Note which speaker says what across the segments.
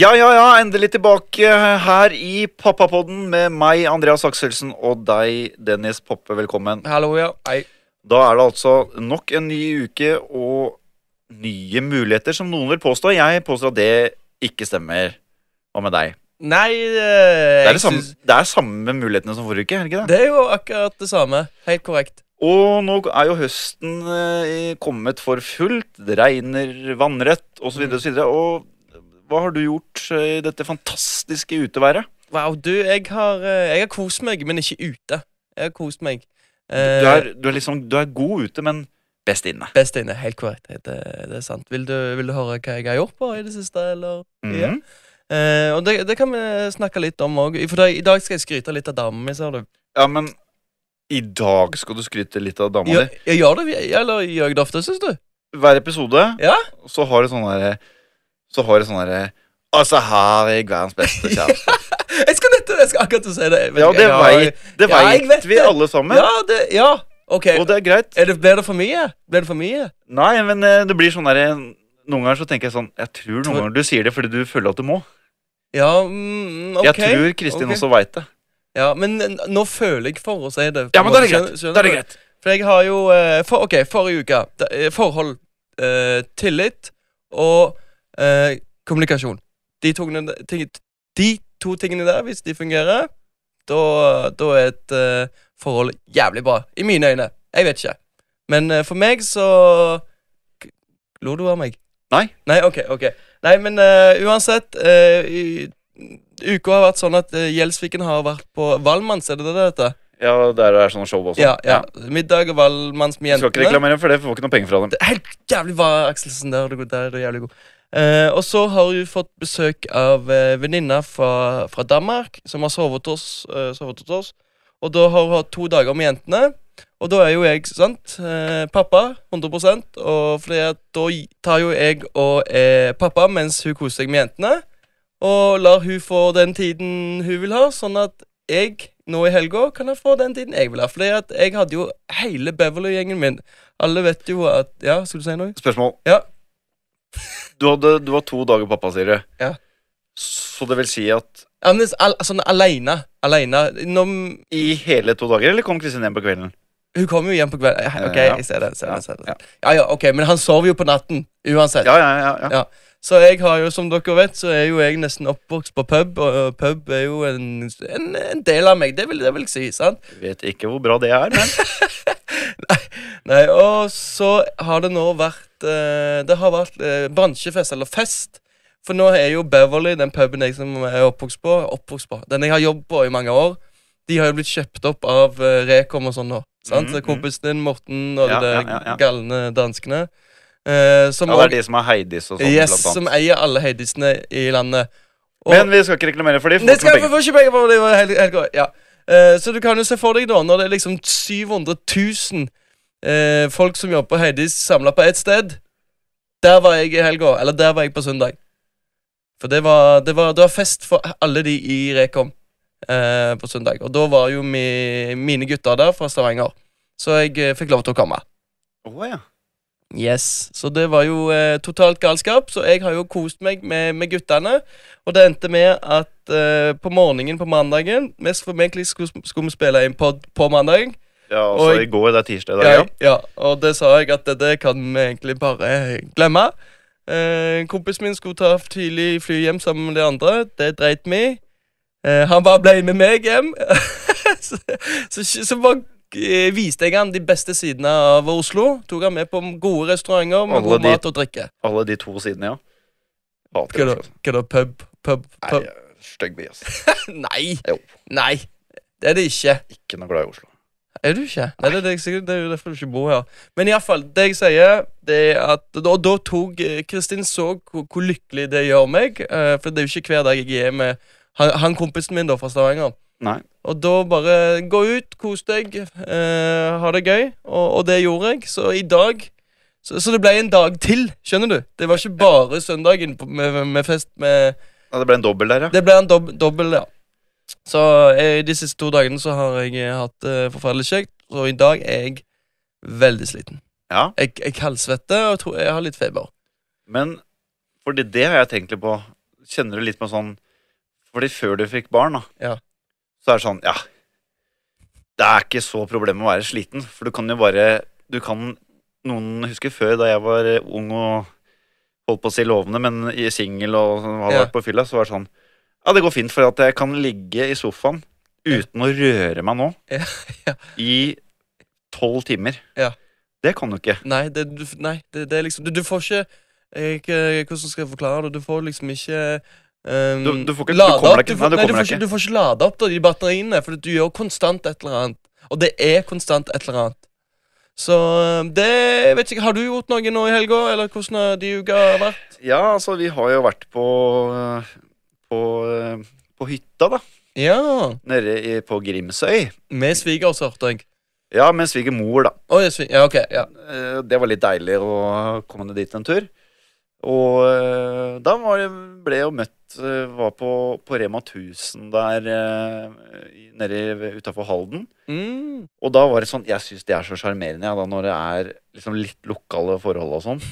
Speaker 1: Ja, ja, ja, endelig tilbake her i Pappapodden med meg, Andreas Akselsen, og deg, Dennis Poppe. Velkommen.
Speaker 2: Hallo, ja. Hei.
Speaker 1: Da er det altså nok en ny uke og nye muligheter, som noen vil påstå. Jeg påstår at det ikke stemmer. Hva med deg?
Speaker 2: Nei eh,
Speaker 1: Det
Speaker 2: jeg
Speaker 1: er, det samme,
Speaker 2: synes-
Speaker 1: det er samme mulighetene som forrige uke, er det ikke det?
Speaker 2: det er jo akkurat det samme. Helt korrekt.
Speaker 1: Og nå er jo høsten eh, kommet for fullt. Det regner vannrett osv. osv. Og hva har du gjort eh, i dette fantastiske uteværet?
Speaker 2: Wow, du, jeg har, eh, jeg har kost meg, men ikke ute. Jeg har kost meg. Eh,
Speaker 1: Du er, du er liksom Du er god ute, men best inne.
Speaker 2: Best inne. Helt korrekt. Det, det er sant. Vil du, vil du høre hva jeg har gjort på i det siste, eller?
Speaker 1: Mhm.
Speaker 2: Ja. Eh, og det, det kan vi snakke litt om òg. For da- i dag skal jeg skryte litt av damen min, ser du.
Speaker 1: Ja, men i dag skal du skryte litt av dama
Speaker 2: Gjør,
Speaker 1: di.
Speaker 2: jeg gjør det, eller gjør jeg det ofte, syns du?
Speaker 1: Hver episode
Speaker 2: Ja.
Speaker 1: så har du sånn derre Så har du sånn derre Og så har jeg verdens beste kjæreste.
Speaker 2: Jeg skal nettopp, jeg skal akkurat til å si det.
Speaker 1: Ja, det
Speaker 2: Jeg har-
Speaker 1: veit det
Speaker 2: Ja, jeg
Speaker 1: vet
Speaker 2: vet
Speaker 1: vi
Speaker 2: det.
Speaker 1: alle sammen.
Speaker 2: Ja, det, ja. ok.
Speaker 1: Og det er greit.
Speaker 2: Er det, ble det for mye? Ble det for mye?
Speaker 1: Nei, men eh, det blir sånn derre Noen ganger så tenker jeg sånn Jeg tror noen
Speaker 2: Tror-
Speaker 1: ganger du sier det fordi du føler at du må.
Speaker 2: Ja, mm, ok.
Speaker 1: Jeg tror Kristin
Speaker 2: ok.
Speaker 1: også veit det.
Speaker 2: Ja, men n- nå føler jeg for å si det.
Speaker 1: Ja, men da er det greit.
Speaker 2: Skjønner- skjønner
Speaker 1: Da er det
Speaker 2: du?
Speaker 1: greit.
Speaker 2: For jeg har jo eh, for, Ok, forrige uke. da- eh, Forhold, eh, tillit og eh, kommunikasjon. De to, tingene- ting, de to tingene der, hvis de fungerer, da, da er et eh, forhold jævlig bra. I mine øyne. Jeg vet ikke. Men eh, for meg så K- Lo du av meg?
Speaker 1: Nei.
Speaker 2: Nei, ok, ok. Nei, men eh, uansett eh, i, Uka har vært sånn at eh, Gjelsviken har vært på Valmanns, er det det det heter?
Speaker 1: Ja, der er sånn show også.
Speaker 2: Ja, ja. Middag og Valmanns
Speaker 1: Vi
Speaker 2: med
Speaker 1: Skal ikke
Speaker 2: jentene.
Speaker 1: reklamere for det, for vi får ikke noe penger fra dem.
Speaker 2: Det er helt jævlig bra, Akselsen. Der er du god. Der er du jævlig god. Eh, og så har hun fått besøk av eh, venninna fra, fra Danmark, som har sovet hos, eh, sovet hos oss. Og da har hun hatt to dager med jentene. Og da er jo jeg sant, eh, pappa 100 og fordi at da gi- tar jo jeg og er pappa mens hun koser seg med jentene. Og lar hun få den tiden hun vil ha, sånn at jeg nå i helga kan jeg få den tiden jeg vil ha. Fordi at jeg hadde jo hele Beverly-gjengen min alle vet jo at Ja, skulle du si noe?
Speaker 1: Spørsmål.
Speaker 2: Ja.
Speaker 1: Du, hadde, du var to dager pappa, sier du.
Speaker 2: Ja.
Speaker 1: Så det vil si at
Speaker 2: Ja, men al sånn aleine. Aleine. Når m-
Speaker 1: i hele to dager, eller kom Kristin hjem på kvelden?
Speaker 2: Hun kommer jo hjem på kvelden. Eh, OK,
Speaker 1: Ja.
Speaker 2: jeg ser det. Ser det, ser
Speaker 1: Ja.
Speaker 2: det. Ja, ja, ok, Men han sover jo på natten uansett.
Speaker 1: Ja, ja, ja. ja.
Speaker 2: Ja. Så jeg har jo, som dere vet, så er jo jeg nesten oppvokst på pub, og og pub er jo en, en, en del av meg. Det vil, det vil jeg si. sant?
Speaker 1: Vet ikke hvor bra det er, men
Speaker 2: Nei, og så har det nå vært eh, Det har vært eh, bransjefest, eller fest. For nå er jo Beverly, den puben jeg som er oppvokst på, oppvokst på Den jeg har jobbet på i mange år, de har jo blitt kjøpt opp av eh, Rekom og sånn nå. Sant?
Speaker 1: Mhm,
Speaker 2: Så
Speaker 1: mhm.
Speaker 2: Kompisen din, Morten, og
Speaker 1: Ja,
Speaker 2: de der
Speaker 1: ja, ja, ja.
Speaker 2: galne danskene. eh, som
Speaker 1: ja, det er
Speaker 2: også-
Speaker 1: de som er Heidis og sånn,
Speaker 2: yes,
Speaker 1: blant
Speaker 2: som
Speaker 1: annet.
Speaker 2: eier alle heidisene i landet. Og-
Speaker 1: Men vi skal ikke reklamere for de.
Speaker 2: det skal jeg få ikke penger for. Det var helt, helt korrekt, ja. Eh, så du kan jo se for deg, da, når det er liksom 700 000 eh, folk som jobber på Heidis, samla på ett sted. Der var jeg i helga. Eller der var jeg på søndag. For det var, det var, det var fest for alle de i Rekom eh, på søndag. Og da var jo mi, mine gutter der fra Stavanger. Så jeg eh, fikk lov til å komme.
Speaker 1: Å, ja.
Speaker 2: Yes, Så det var jo eh, totalt galskap, så jeg har jo kost meg med, med guttene. Og det endte med at eh, på morgenen på mandagen Mest formentlig skulle, skulle vi spille inn pod på mandag.
Speaker 1: ja, altså
Speaker 2: Og-
Speaker 1: i går, det er tirsdag i dag,
Speaker 2: Ja,
Speaker 1: ja.
Speaker 2: ja, og det sa jeg at det, det kan vi egentlig bare eh, glemme. Eh, kompisen min skulle ta tidlig fly hjem sammen med de andre. Det dreit vi i. Eh, han bare ble med meg hjem. så, så, så bare eh, viste jeg han de beste sidene av Oslo. Tok han med på gode restauranter med
Speaker 1: Alle
Speaker 2: god
Speaker 1: de-
Speaker 2: mat og drikke.
Speaker 1: Alle de to sidene, ja. Hater
Speaker 2: Hva da?
Speaker 1: det, altså.
Speaker 2: Hva da? Pub? Pub?
Speaker 1: Nei, jeg
Speaker 2: pub?
Speaker 1: er stygg altså. by, ass.
Speaker 2: Nei!
Speaker 1: Jo.
Speaker 2: Nei! Det er det ikke.
Speaker 1: Ikke noe glad i Oslo.
Speaker 2: Er du ikke? Nei, det er, det, jeg sikkert, det er jo derfor du ikke bor her. Men iallfall, det jeg sier, det er at Og da tok eh, Kristin så hvor, hvor lykkelig det gjør meg, eh, for det er jo ikke hver dag jeg er med han, han kompisen min da fra Stavanger.
Speaker 1: Nei.
Speaker 2: Og da bare gå ut, kos deg, eh, ha det gøy. Og, og det gjorde jeg. Så i dag så, så det ble en dag til, skjønner du? Det var ikke bare søndagen på- med, med fest med
Speaker 1: Ja, det ble en dobbel der, ja.
Speaker 2: det ble en dob dobbel, ja. Så eh, de siste to dagene så har jeg eh, hatt det forferdelig kjekt, og i dag er jeg veldig sliten.
Speaker 1: Ja.
Speaker 2: Jeg, jeg kaldsvetter og tror jeg har litt feber.
Speaker 1: Men fordi det har jeg tenkt litt på. kjenner du litt på sånn Fordi før du fikk barn, da,
Speaker 2: Ja.
Speaker 1: så er det sånn Ja, det er ikke så problem å være sliten, for du kan jo bare Du kan Noen husker før, da jeg var eh, ung og holdt på å si lovende, men i singel og sånn, hadde
Speaker 2: Ja.
Speaker 1: vært på fylla, så var det sånn Ja, det går fint, for at jeg kan ligge i sofaen uten å røre meg nå
Speaker 2: Ja, ja.
Speaker 1: i tolv timer.
Speaker 2: Ja.
Speaker 1: Det kan du ikke.
Speaker 2: Nei, det, du, nei, det, det er liksom Du, du får ikke jeg, ikke- Hvordan skal jeg forklare det? Du får liksom ikke um,
Speaker 1: Du- du får ikke- du
Speaker 2: lade
Speaker 1: kommer
Speaker 2: opp.
Speaker 1: deg ikke- nei, du kommer
Speaker 2: nei, du, får
Speaker 1: deg
Speaker 2: ikke, du får ikke lade opp da, de batteriene, for du gjør konstant et eller annet. Og det er konstant et eller annet. Så um, det jeg vet ikke, Har du gjort noe nå i helga, eller hvordan har de uka vært?
Speaker 1: Ja, altså, vi har jo vært på øh, På, øh, på hytta, da.
Speaker 2: Ja,
Speaker 1: Nede i, på Grimsøy.
Speaker 2: med svigers, hørte jeg.
Speaker 1: Ja, med svigermor, da.
Speaker 2: Å, jeg svig- ja, ok, ja.
Speaker 1: Eh, Det var litt deilig å komme ned dit en tur. Og eh, da var det, ble jeg jo møtt eh, Var på, på Rema 1000 der eh, i- nede utafor Halden.
Speaker 2: Mm.
Speaker 1: Og da var det sånn Jeg syns det er så sjarmerende ja, da, når det er liksom litt lokale forhold og sånn.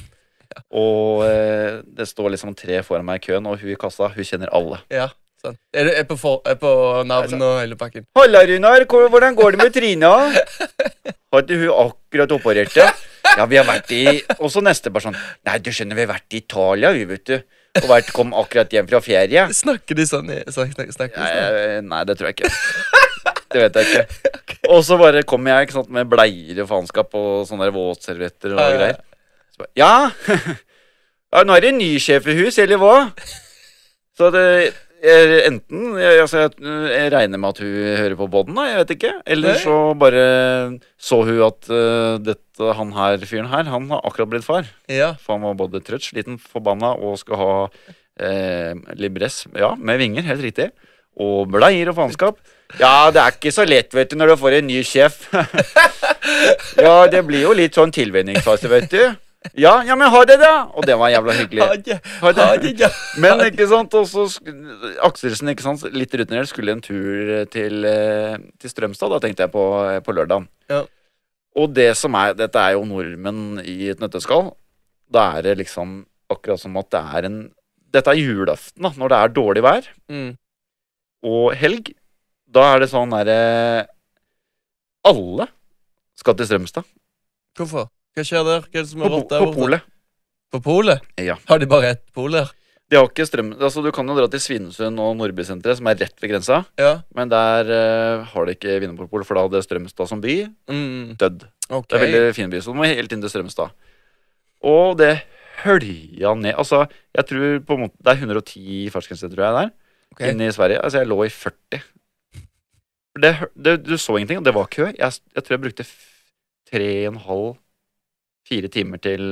Speaker 1: Og eh, det står liksom tre foran meg i køen, og hun i kassa, hun kjenner alle.
Speaker 2: Ja, sant. Er du er på, for, er på navn og hele pakken?
Speaker 1: Halla, Runar. hvor- Hvordan går det med Trina? Har ikke hun akkurat operert det? Ja, vi har vært i Og så neste person. Nei, du skjønner, vi har vært i Italia, vi, vet du. Og vært, kom akkurat hjem fra ferie.
Speaker 2: Snakker de sånn? i- Snak, snak, snakker de sånn?
Speaker 1: Nei, nei, det tror jeg ikke. Det vet jeg ikke. Og så bare kom jeg ikke sant, med bleier og faenskap og sånne der våtservietter og
Speaker 2: Ja, ja, ja.
Speaker 1: greier. Så bare, ja. ja, nå er det en ny sjef i hus, eller hva? Så det jeg, enten jeg, altså, jeg, jeg regner med at hun hører på podden, da, jeg vet ikke. Eller
Speaker 2: Nei.
Speaker 1: så bare så hun at eh, dette, han her fyren her, han har akkurat blitt far.
Speaker 2: Ja.
Speaker 1: For han var både trøtt, sliten, forbanna og skal ha eh, libress ja, med vinger, helt riktig. Og bleier og faenskap. Ja, det er ikke så lett, vet du, når du får en ny sjef. ja, det blir jo litt sånn tilvenningsfase, vet du. Ja, ja, men ha det, da! Og det var jævla hyggelig.
Speaker 2: Ha det.
Speaker 1: Ha det.
Speaker 2: Ha det, ja.
Speaker 1: Men ikke sant, og så sk- Akselsen, ikke sant, litt rutinert, skulle en tur til, eh, til Strømstad, da tenkte jeg på, eh, på lørdagen.
Speaker 2: Ja.
Speaker 1: Og det som er, dette er jo nordmenn i et nøtteskall, da er det liksom akkurat som at det er en Dette er julaften, da, når det er dårlig vær
Speaker 2: Mm.
Speaker 1: og helg. Da er det sånn derre Alle skal til Strømstad,
Speaker 2: Hvorfor? Hva skjer der? Hva er det som
Speaker 1: på,
Speaker 2: er
Speaker 1: po-
Speaker 2: rått der
Speaker 1: på
Speaker 2: borte?
Speaker 1: polet.
Speaker 2: På polet?
Speaker 1: Ja.
Speaker 2: Har de bare ett pol der?
Speaker 1: De har ikke strøm... Altså, du kan jo dra til Svinesund og Nordbysenteret, som er rett ved grensa.
Speaker 2: Ja.
Speaker 1: Men der eh, har de ikke Vinmonopol, for da hadde Strømstad som by
Speaker 2: Mm.
Speaker 1: dødd.
Speaker 2: Ok.
Speaker 1: Det er en veldig fin by, så du må helt inn til Strømstad. Og det hølja ned Altså, jeg tror på en måte Det er 110 fartsgrense, tror jeg, der.
Speaker 2: Ok.
Speaker 1: Inne i Sverige. Altså, jeg lå i 40. For Det, hø- det, du så ingenting, og det var kø. Jeg, jeg tror jeg brukte f- tre og en halv, fire timer til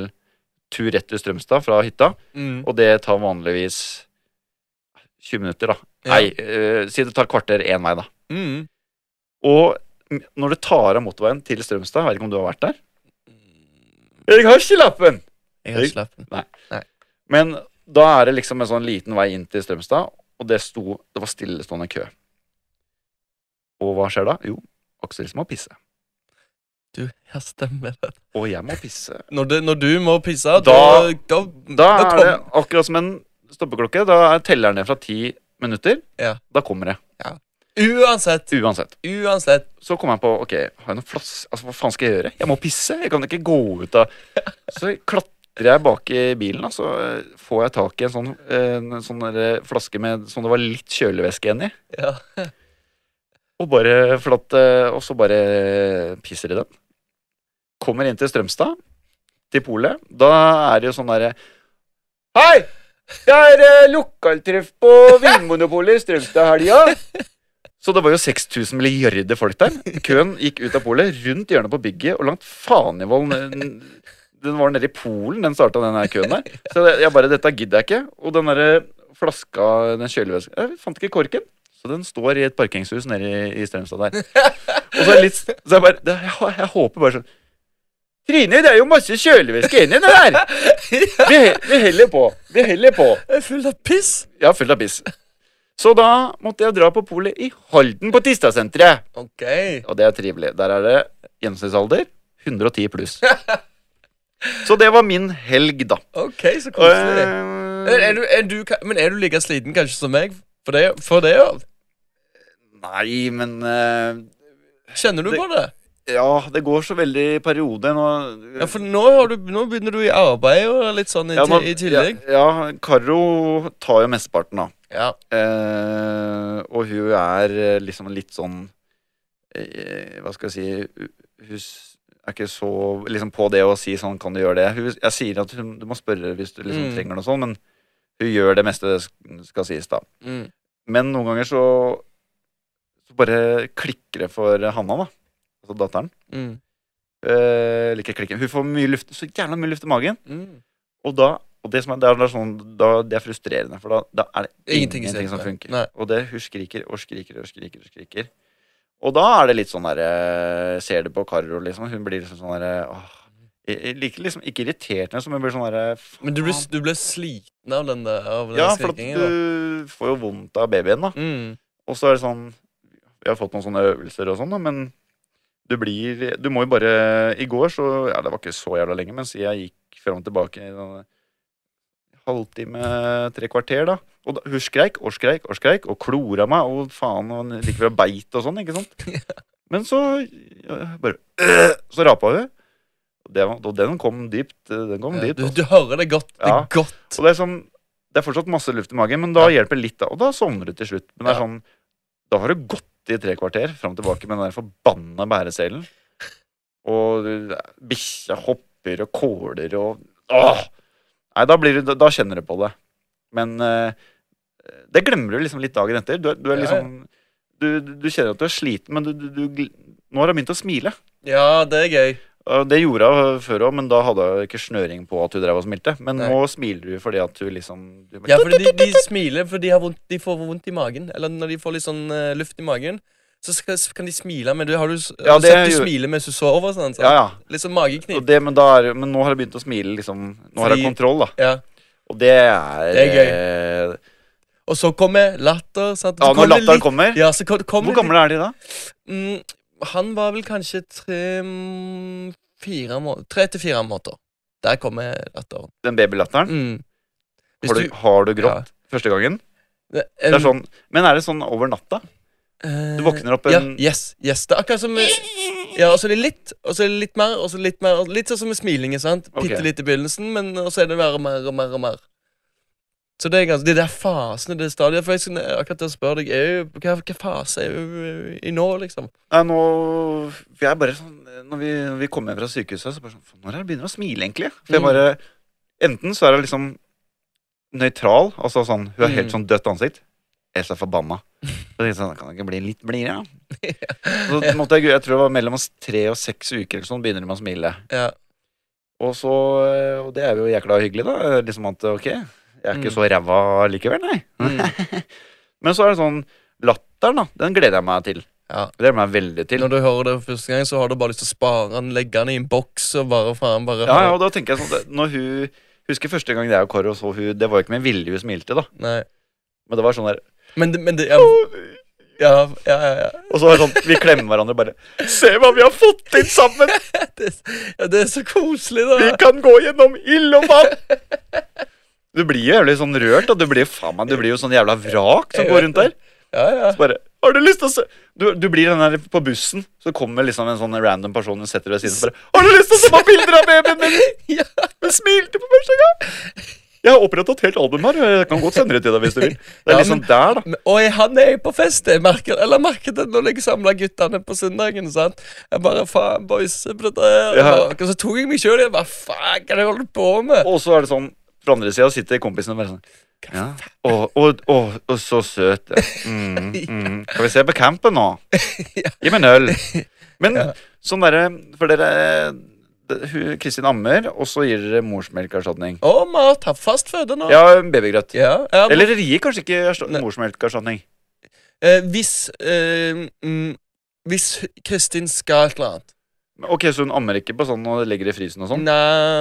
Speaker 1: tur rett til Strømstad fra hytta,
Speaker 2: Mm.
Speaker 1: og det tar vanligvis 20 minutter, da.
Speaker 2: Ja.
Speaker 1: Nei, eh, si det tar kvarter én vei, da.
Speaker 2: Mm.
Speaker 1: Og m- når du tar av motorveien til Strømstad Jeg vet ikke om du har vært der? Jeg har ikke lappen!
Speaker 2: Jeg har
Speaker 1: Hei.
Speaker 2: ikke lappen.
Speaker 1: Men da er det liksom en sånn liten vei inn til Strømstad, og det, sto, det var stillestående kø. Og hva skjer da? Jo, Aksel må pisse.
Speaker 2: Du, ja, stemmer det.
Speaker 1: Og jeg må pisse.
Speaker 2: Når, det, når du må pisse, da
Speaker 1: Da-
Speaker 2: Da,
Speaker 1: Da
Speaker 2: da
Speaker 1: er det akkurat som en stoppeklokke. Da er telleren ned fra ti minutter.
Speaker 2: Ja.
Speaker 1: Da kommer det.
Speaker 2: Uansett.
Speaker 1: Uansett.
Speaker 2: Uansett.
Speaker 1: så kom jeg på ok, har jeg noen flass? Altså, hva faen skal jeg gjøre? Jeg må pisse. Jeg kan ikke gå ut av Så klatrer jeg bak i bilen, og så eh, får jeg tak i en sånn, eh, en sånn der flaske med sånn det var litt kjølevæske igjen i.
Speaker 2: Ja.
Speaker 1: Og, bare, for at, eh, og så bare pisser i den. Kommer inn til Strømstad, til polet. Da er det jo sånn derre Hei! Det er eh, lokaltreff på Vinmonopolet i Strømstad-helga. Så det var jo 6000 milliarder folk der. Køen gikk ut av polet, rundt hjørnet på bygget og langt faen i vold. n- Den var nede i Polen, den starta den her køen der. Så det- jeg bare Dette gidder jeg ikke. Og den derre flaska, den kjølevæsken Jeg fant ikke korken. Så den står i et parkeringshus nede i, i Strømstad der. Og så er det litt Så jeg bare det, jeg, jeg håper bare sånn Trine, det er jo masse kjølevæske inni det der! Vi, he- vi heller på. Vi heller på.
Speaker 2: Jeg er full av piss.
Speaker 1: Jeg har fullt av piss. Så da måtte jeg dra på polet i Halden på Tistasenteret.
Speaker 2: Ok.
Speaker 1: Og det er trivelig. Der er det gjennomsnittsalder 110 pluss. Så det var min helg, da.
Speaker 2: Ok, så
Speaker 1: Og,
Speaker 2: koselig.
Speaker 1: eh,
Speaker 2: Er, er du, er du, ka- men er du like sliten kanskje som meg? For det, for det ja.
Speaker 1: Nei, men eh,
Speaker 2: Kjenner du
Speaker 1: Det-
Speaker 2: på det?
Speaker 1: Ja, det går så veldig i perioder nå.
Speaker 2: Ja, for nå, har du, nå begynner du i arbeid og litt sånn i,
Speaker 1: Ja, nå-
Speaker 2: ti- i tillegg.
Speaker 1: Ja, ja, Karo tar jo mesteparten, da.
Speaker 2: Ja.
Speaker 1: Eh, og hun er eh, liksom litt sånn eh, Hva skal jeg si hu- Hun s- er ikke så liksom på det å si sånn 'kan du gjøre det'? Hun, jeg sier at hun, du må spørre hvis du liksom
Speaker 2: Mm.
Speaker 1: trenger noe sånt, men hun gjør det meste det sk- skal sies, da.
Speaker 2: Mm.
Speaker 1: Men noen ganger så, så bare klikker det for Hanna, da. Altså datteren.
Speaker 2: Mm.
Speaker 1: Eh, eller ikke klikker. Hun får mye luft, så jævla mye luft i magen.
Speaker 2: Mm.
Speaker 1: Og da og det, som er, det, er da sånn, da, det er frustrerende, for da, da er det
Speaker 2: Ingenting
Speaker 1: ingenting,
Speaker 2: i stedet
Speaker 1: som
Speaker 2: for.
Speaker 1: funker.
Speaker 2: Nei.
Speaker 1: Og det, hun skriker og skriker og skriker. Og skriker Og da er det litt sånn derre Ser det på Karo, liksom. Hun blir liksom sånn derre åh. Jeg jeg liker liksom ikke irriterende, som hun blir sånn derre
Speaker 2: Men du ble, du ble sliten av den der av den
Speaker 1: Ja, for at
Speaker 2: skrikingen? da.
Speaker 1: du får jo vondt av babyen, da.
Speaker 2: Mm.
Speaker 1: Og så er det sånn Vi har fått noen sånne øvelser og sånn, da, men du blir Du må jo bare I går så Ja, det var ikke så jævla lenge, men siden jeg gikk fram og tilbake i sånn halvtime, tre kvarter, da. Og da, hun skreik og skreik og skreik og klora meg og faen og like ved beit og sånn, ikke sant? Men så ja, bare øh, Så rapa hun. Og, det, var- og den kom dypt. øh, Den kom
Speaker 2: Ja,
Speaker 1: dypt.
Speaker 2: Du,
Speaker 1: altså.
Speaker 2: du hører det godt. Det er
Speaker 1: Ja.
Speaker 2: godt.
Speaker 1: Så det er sånn Det er fortsatt masse luft i magen, men da hjelper litt, da. Og da sovner du til slutt. Men det er
Speaker 2: Ja.
Speaker 1: sånn Da har du gått i tre kvarter fram og tilbake med den der forbanna bæreselen. Og du- bikkja hopper og kåler og Åh! Nei, da, blir du, da, da kjenner du på det. Men eh, det glemmer du liksom litt dagen etter. Du, er- du er
Speaker 2: Ja, ja.
Speaker 1: liksom du, du du kjenner at du er sliten, men du, du, du gl- Nå har hun begynt å smile.
Speaker 2: Ja, det er gøy.
Speaker 1: Og Det gjorde hun før òg, men da hadde hun ikke snøring på at hun drev og smilte. Men
Speaker 2: Nei.
Speaker 1: nå smiler hun fordi at hun liksom du bare,
Speaker 2: Ja, for de, de smiler, for de, har vondt, de får vondt i magen. Eller når de får litt sånn eh, luft i magen, så skal, så kan de smile. Men du, har du, s-
Speaker 1: Ja,
Speaker 2: har du
Speaker 1: det
Speaker 2: sett de
Speaker 1: gjør-
Speaker 2: smiler mens du sover? Sånn, sånn.
Speaker 1: ja, ja.
Speaker 2: Litt sånn
Speaker 1: Og
Speaker 2: mageknip.
Speaker 1: det, men, da er, men nå har hun begynt å smile, liksom. Nå har hun
Speaker 2: Fordi-
Speaker 1: kontroll, da.
Speaker 2: Ja.
Speaker 1: Og det er,
Speaker 2: Det er
Speaker 1: gøy.
Speaker 2: Og så kommer latter. Sant?
Speaker 1: Ja,
Speaker 2: Så
Speaker 1: når
Speaker 2: kommer det
Speaker 1: latteren
Speaker 2: litt-
Speaker 1: kommer.
Speaker 2: Ja, så kom, kommer
Speaker 1: Hvor
Speaker 2: det
Speaker 1: gamle er de da?
Speaker 2: Mm, han var vel kanskje tre mm, fire må tre til fire måneder. Der kommer latteren.
Speaker 1: Den babylatteren?
Speaker 2: Mm. Hvis Um,
Speaker 1: Har du, har du grått første gangen?
Speaker 2: det,
Speaker 1: Det er sånn, men er det sånn over natta?
Speaker 2: Eh,
Speaker 1: Du våkner opp
Speaker 2: ja,
Speaker 1: en
Speaker 2: yes, yes. Det er akkurat som Ja, og så er det litt, og så er det litt mer, og så litt mer. og Litt sånn som med smilingen. sant?
Speaker 1: Ok.
Speaker 2: Bitte litt i begynnelsen, men og så er det mer og mer og mer. og mer. Så det er ganske, det der fasene, det stadiet For jeg skulle akkurat til å spørre deg, er jo, hva, hva fase er du i nå, liksom?
Speaker 1: Nei, nå For jeg er bare sånn Når vi, når vi kom hjem fra sykehuset, så bare sånn "Faen, Når er det jeg begynner å smile, egentlig? For jeg
Speaker 2: Mm.
Speaker 1: bare Enten så er det liksom nøytral, altså sånn Hun har helt
Speaker 2: Mm.
Speaker 1: sånn dødt ansikt. Jeg er så forbanna. Så tenkte jeg sånn, kan det ikke bli litt blidere, da? Så måtte jeg, jeg tror det var mellom oss tre og seks uker eller sånn, begynner de å smile.
Speaker 2: Ja.
Speaker 1: Og så, og det er jo jækla hyggelig, da. Liksom at ok, jeg er ikke
Speaker 2: Mm.
Speaker 1: så ræva likevel, nei.
Speaker 2: Mm.
Speaker 1: Men så er det sånn Latteren, da. Den gleder jeg meg til.
Speaker 2: Ja.
Speaker 1: Det gleder jeg meg veldig til.
Speaker 2: Når du hører det for første gang, så har du bare lyst til å spare den, legge den i en boks og bare faen bare
Speaker 1: Ja, ja, og da tenker jeg sånn det- Når hun Husker første gang jeg og Karo så hun Det var jo ikke med vilje hun smilte, da.
Speaker 2: Nei.
Speaker 1: Men det var sånn der
Speaker 2: Men det, men det ja, ja, ja, ja, ja.
Speaker 1: Og så var det sånn Vi klemmer hverandre og bare Se hva vi har fått til sammen!
Speaker 2: Det, er s- ja, det er så koselig,
Speaker 1: Vi
Speaker 2: da.
Speaker 1: kan gå gjennom ild og vann! Du blir jo jævlig sånn rørt, da. Du blir jo faen meg Du blir jo sånn jævla vrak som går rundt der.
Speaker 2: Ja, ja.
Speaker 1: Så bare Har du lyst til å se Du, du blir den der på bussen, så kommer liksom en sånn random person og setter deg ved siden og bare Har du lyst til å se på bilder av babyen min?
Speaker 2: Ja.
Speaker 1: Hun smilte på første gang! Jeg har opprettet et helt album her. og Jeg kan godt sende det til deg hvis du vil. Det er
Speaker 2: Ja,
Speaker 1: liksom
Speaker 2: men-
Speaker 1: der, da.
Speaker 2: Men- Og jeg, han er jo på fest. Jeg merker, eller jeg merket det når jeg samla guttene på søndagen. Sant? Jeg bare faen, boys. se på dette her.
Speaker 1: Ja.
Speaker 2: Og så tok jeg meg sjøl i det. Faen, hva er det jeg holder på med?
Speaker 1: Og så er det sånn Fra andre sida sitter kompisen og bare sånn ja. Å, å, å, å, så søt. ja. Mm, mm. Skal vi se på campen nå? Gi meg en øl. Men sånn derre For dere det- hun- Kristin ammer, og så gir dere morsmelkerstatning.
Speaker 2: Å, mat. Har fast føde nå.
Speaker 1: Ja, babygrøt.
Speaker 2: Ja, ja,
Speaker 1: Eller dere gir kanskje ikke ersta-
Speaker 2: Nei.
Speaker 1: morsmelkerstatning.
Speaker 2: eh, hvis eh, mm, Hvis Kristin skal et eller annet
Speaker 1: Men Ok, Så hun ammer ikke på sånn og legger i frysen og sånn?
Speaker 2: Nei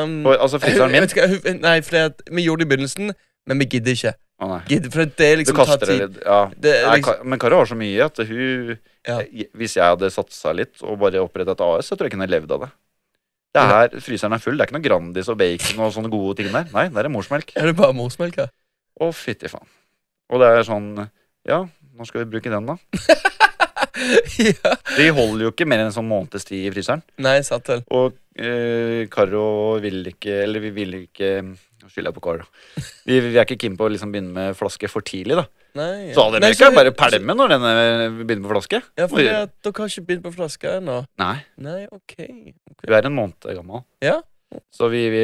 Speaker 2: mm,
Speaker 1: Og, altså fryseren min?
Speaker 2: Vet du hva, hun- Nei, fordi at vi gjorde det i begynnelsen, men vi gidder ikke.
Speaker 1: Å nei.
Speaker 2: Gidder, for det er
Speaker 1: Du
Speaker 2: liksom
Speaker 1: kaster
Speaker 2: tar tid.
Speaker 1: det litt. Ja.
Speaker 2: Det er
Speaker 1: Nei,
Speaker 2: liksom,
Speaker 1: Ka- men Kari har så mye at hun
Speaker 2: Ja.
Speaker 1: Hvis jeg hadde satsa litt og bare opprettet et AS, så tror jeg jeg kunne levd av det. Det er, fryseren er full. Det er ikke noe Grandis og bacon og sånne gode ting der. Nei, der er morsmelk.
Speaker 2: Er det bare morsmelk her?
Speaker 1: Å, fytti faen. Og det er sånn Ja, når skal vi bruke den, da?
Speaker 2: ja.
Speaker 1: De holder jo ikke mer enn en sånn måneds tid i fryseren.
Speaker 2: Nei, sant vel.
Speaker 1: Og eh, Karo vil ikke Eller vi vil ikke Nå skylder jeg på Karo. Vi, vi er ikke keen på å liksom begynne med flaske for tidlig, da.
Speaker 2: Nei, ja.
Speaker 1: Så hadde
Speaker 2: Nei,
Speaker 1: dere ikke
Speaker 2: vi-
Speaker 1: bare pælme når denne begynner på flaske?
Speaker 2: Ja, for dere har ikke begynt på flaska ennå.
Speaker 1: Nei,
Speaker 2: Nei, OK.
Speaker 1: vi er en måned gammel.
Speaker 2: Ja.
Speaker 1: Så vi, vi,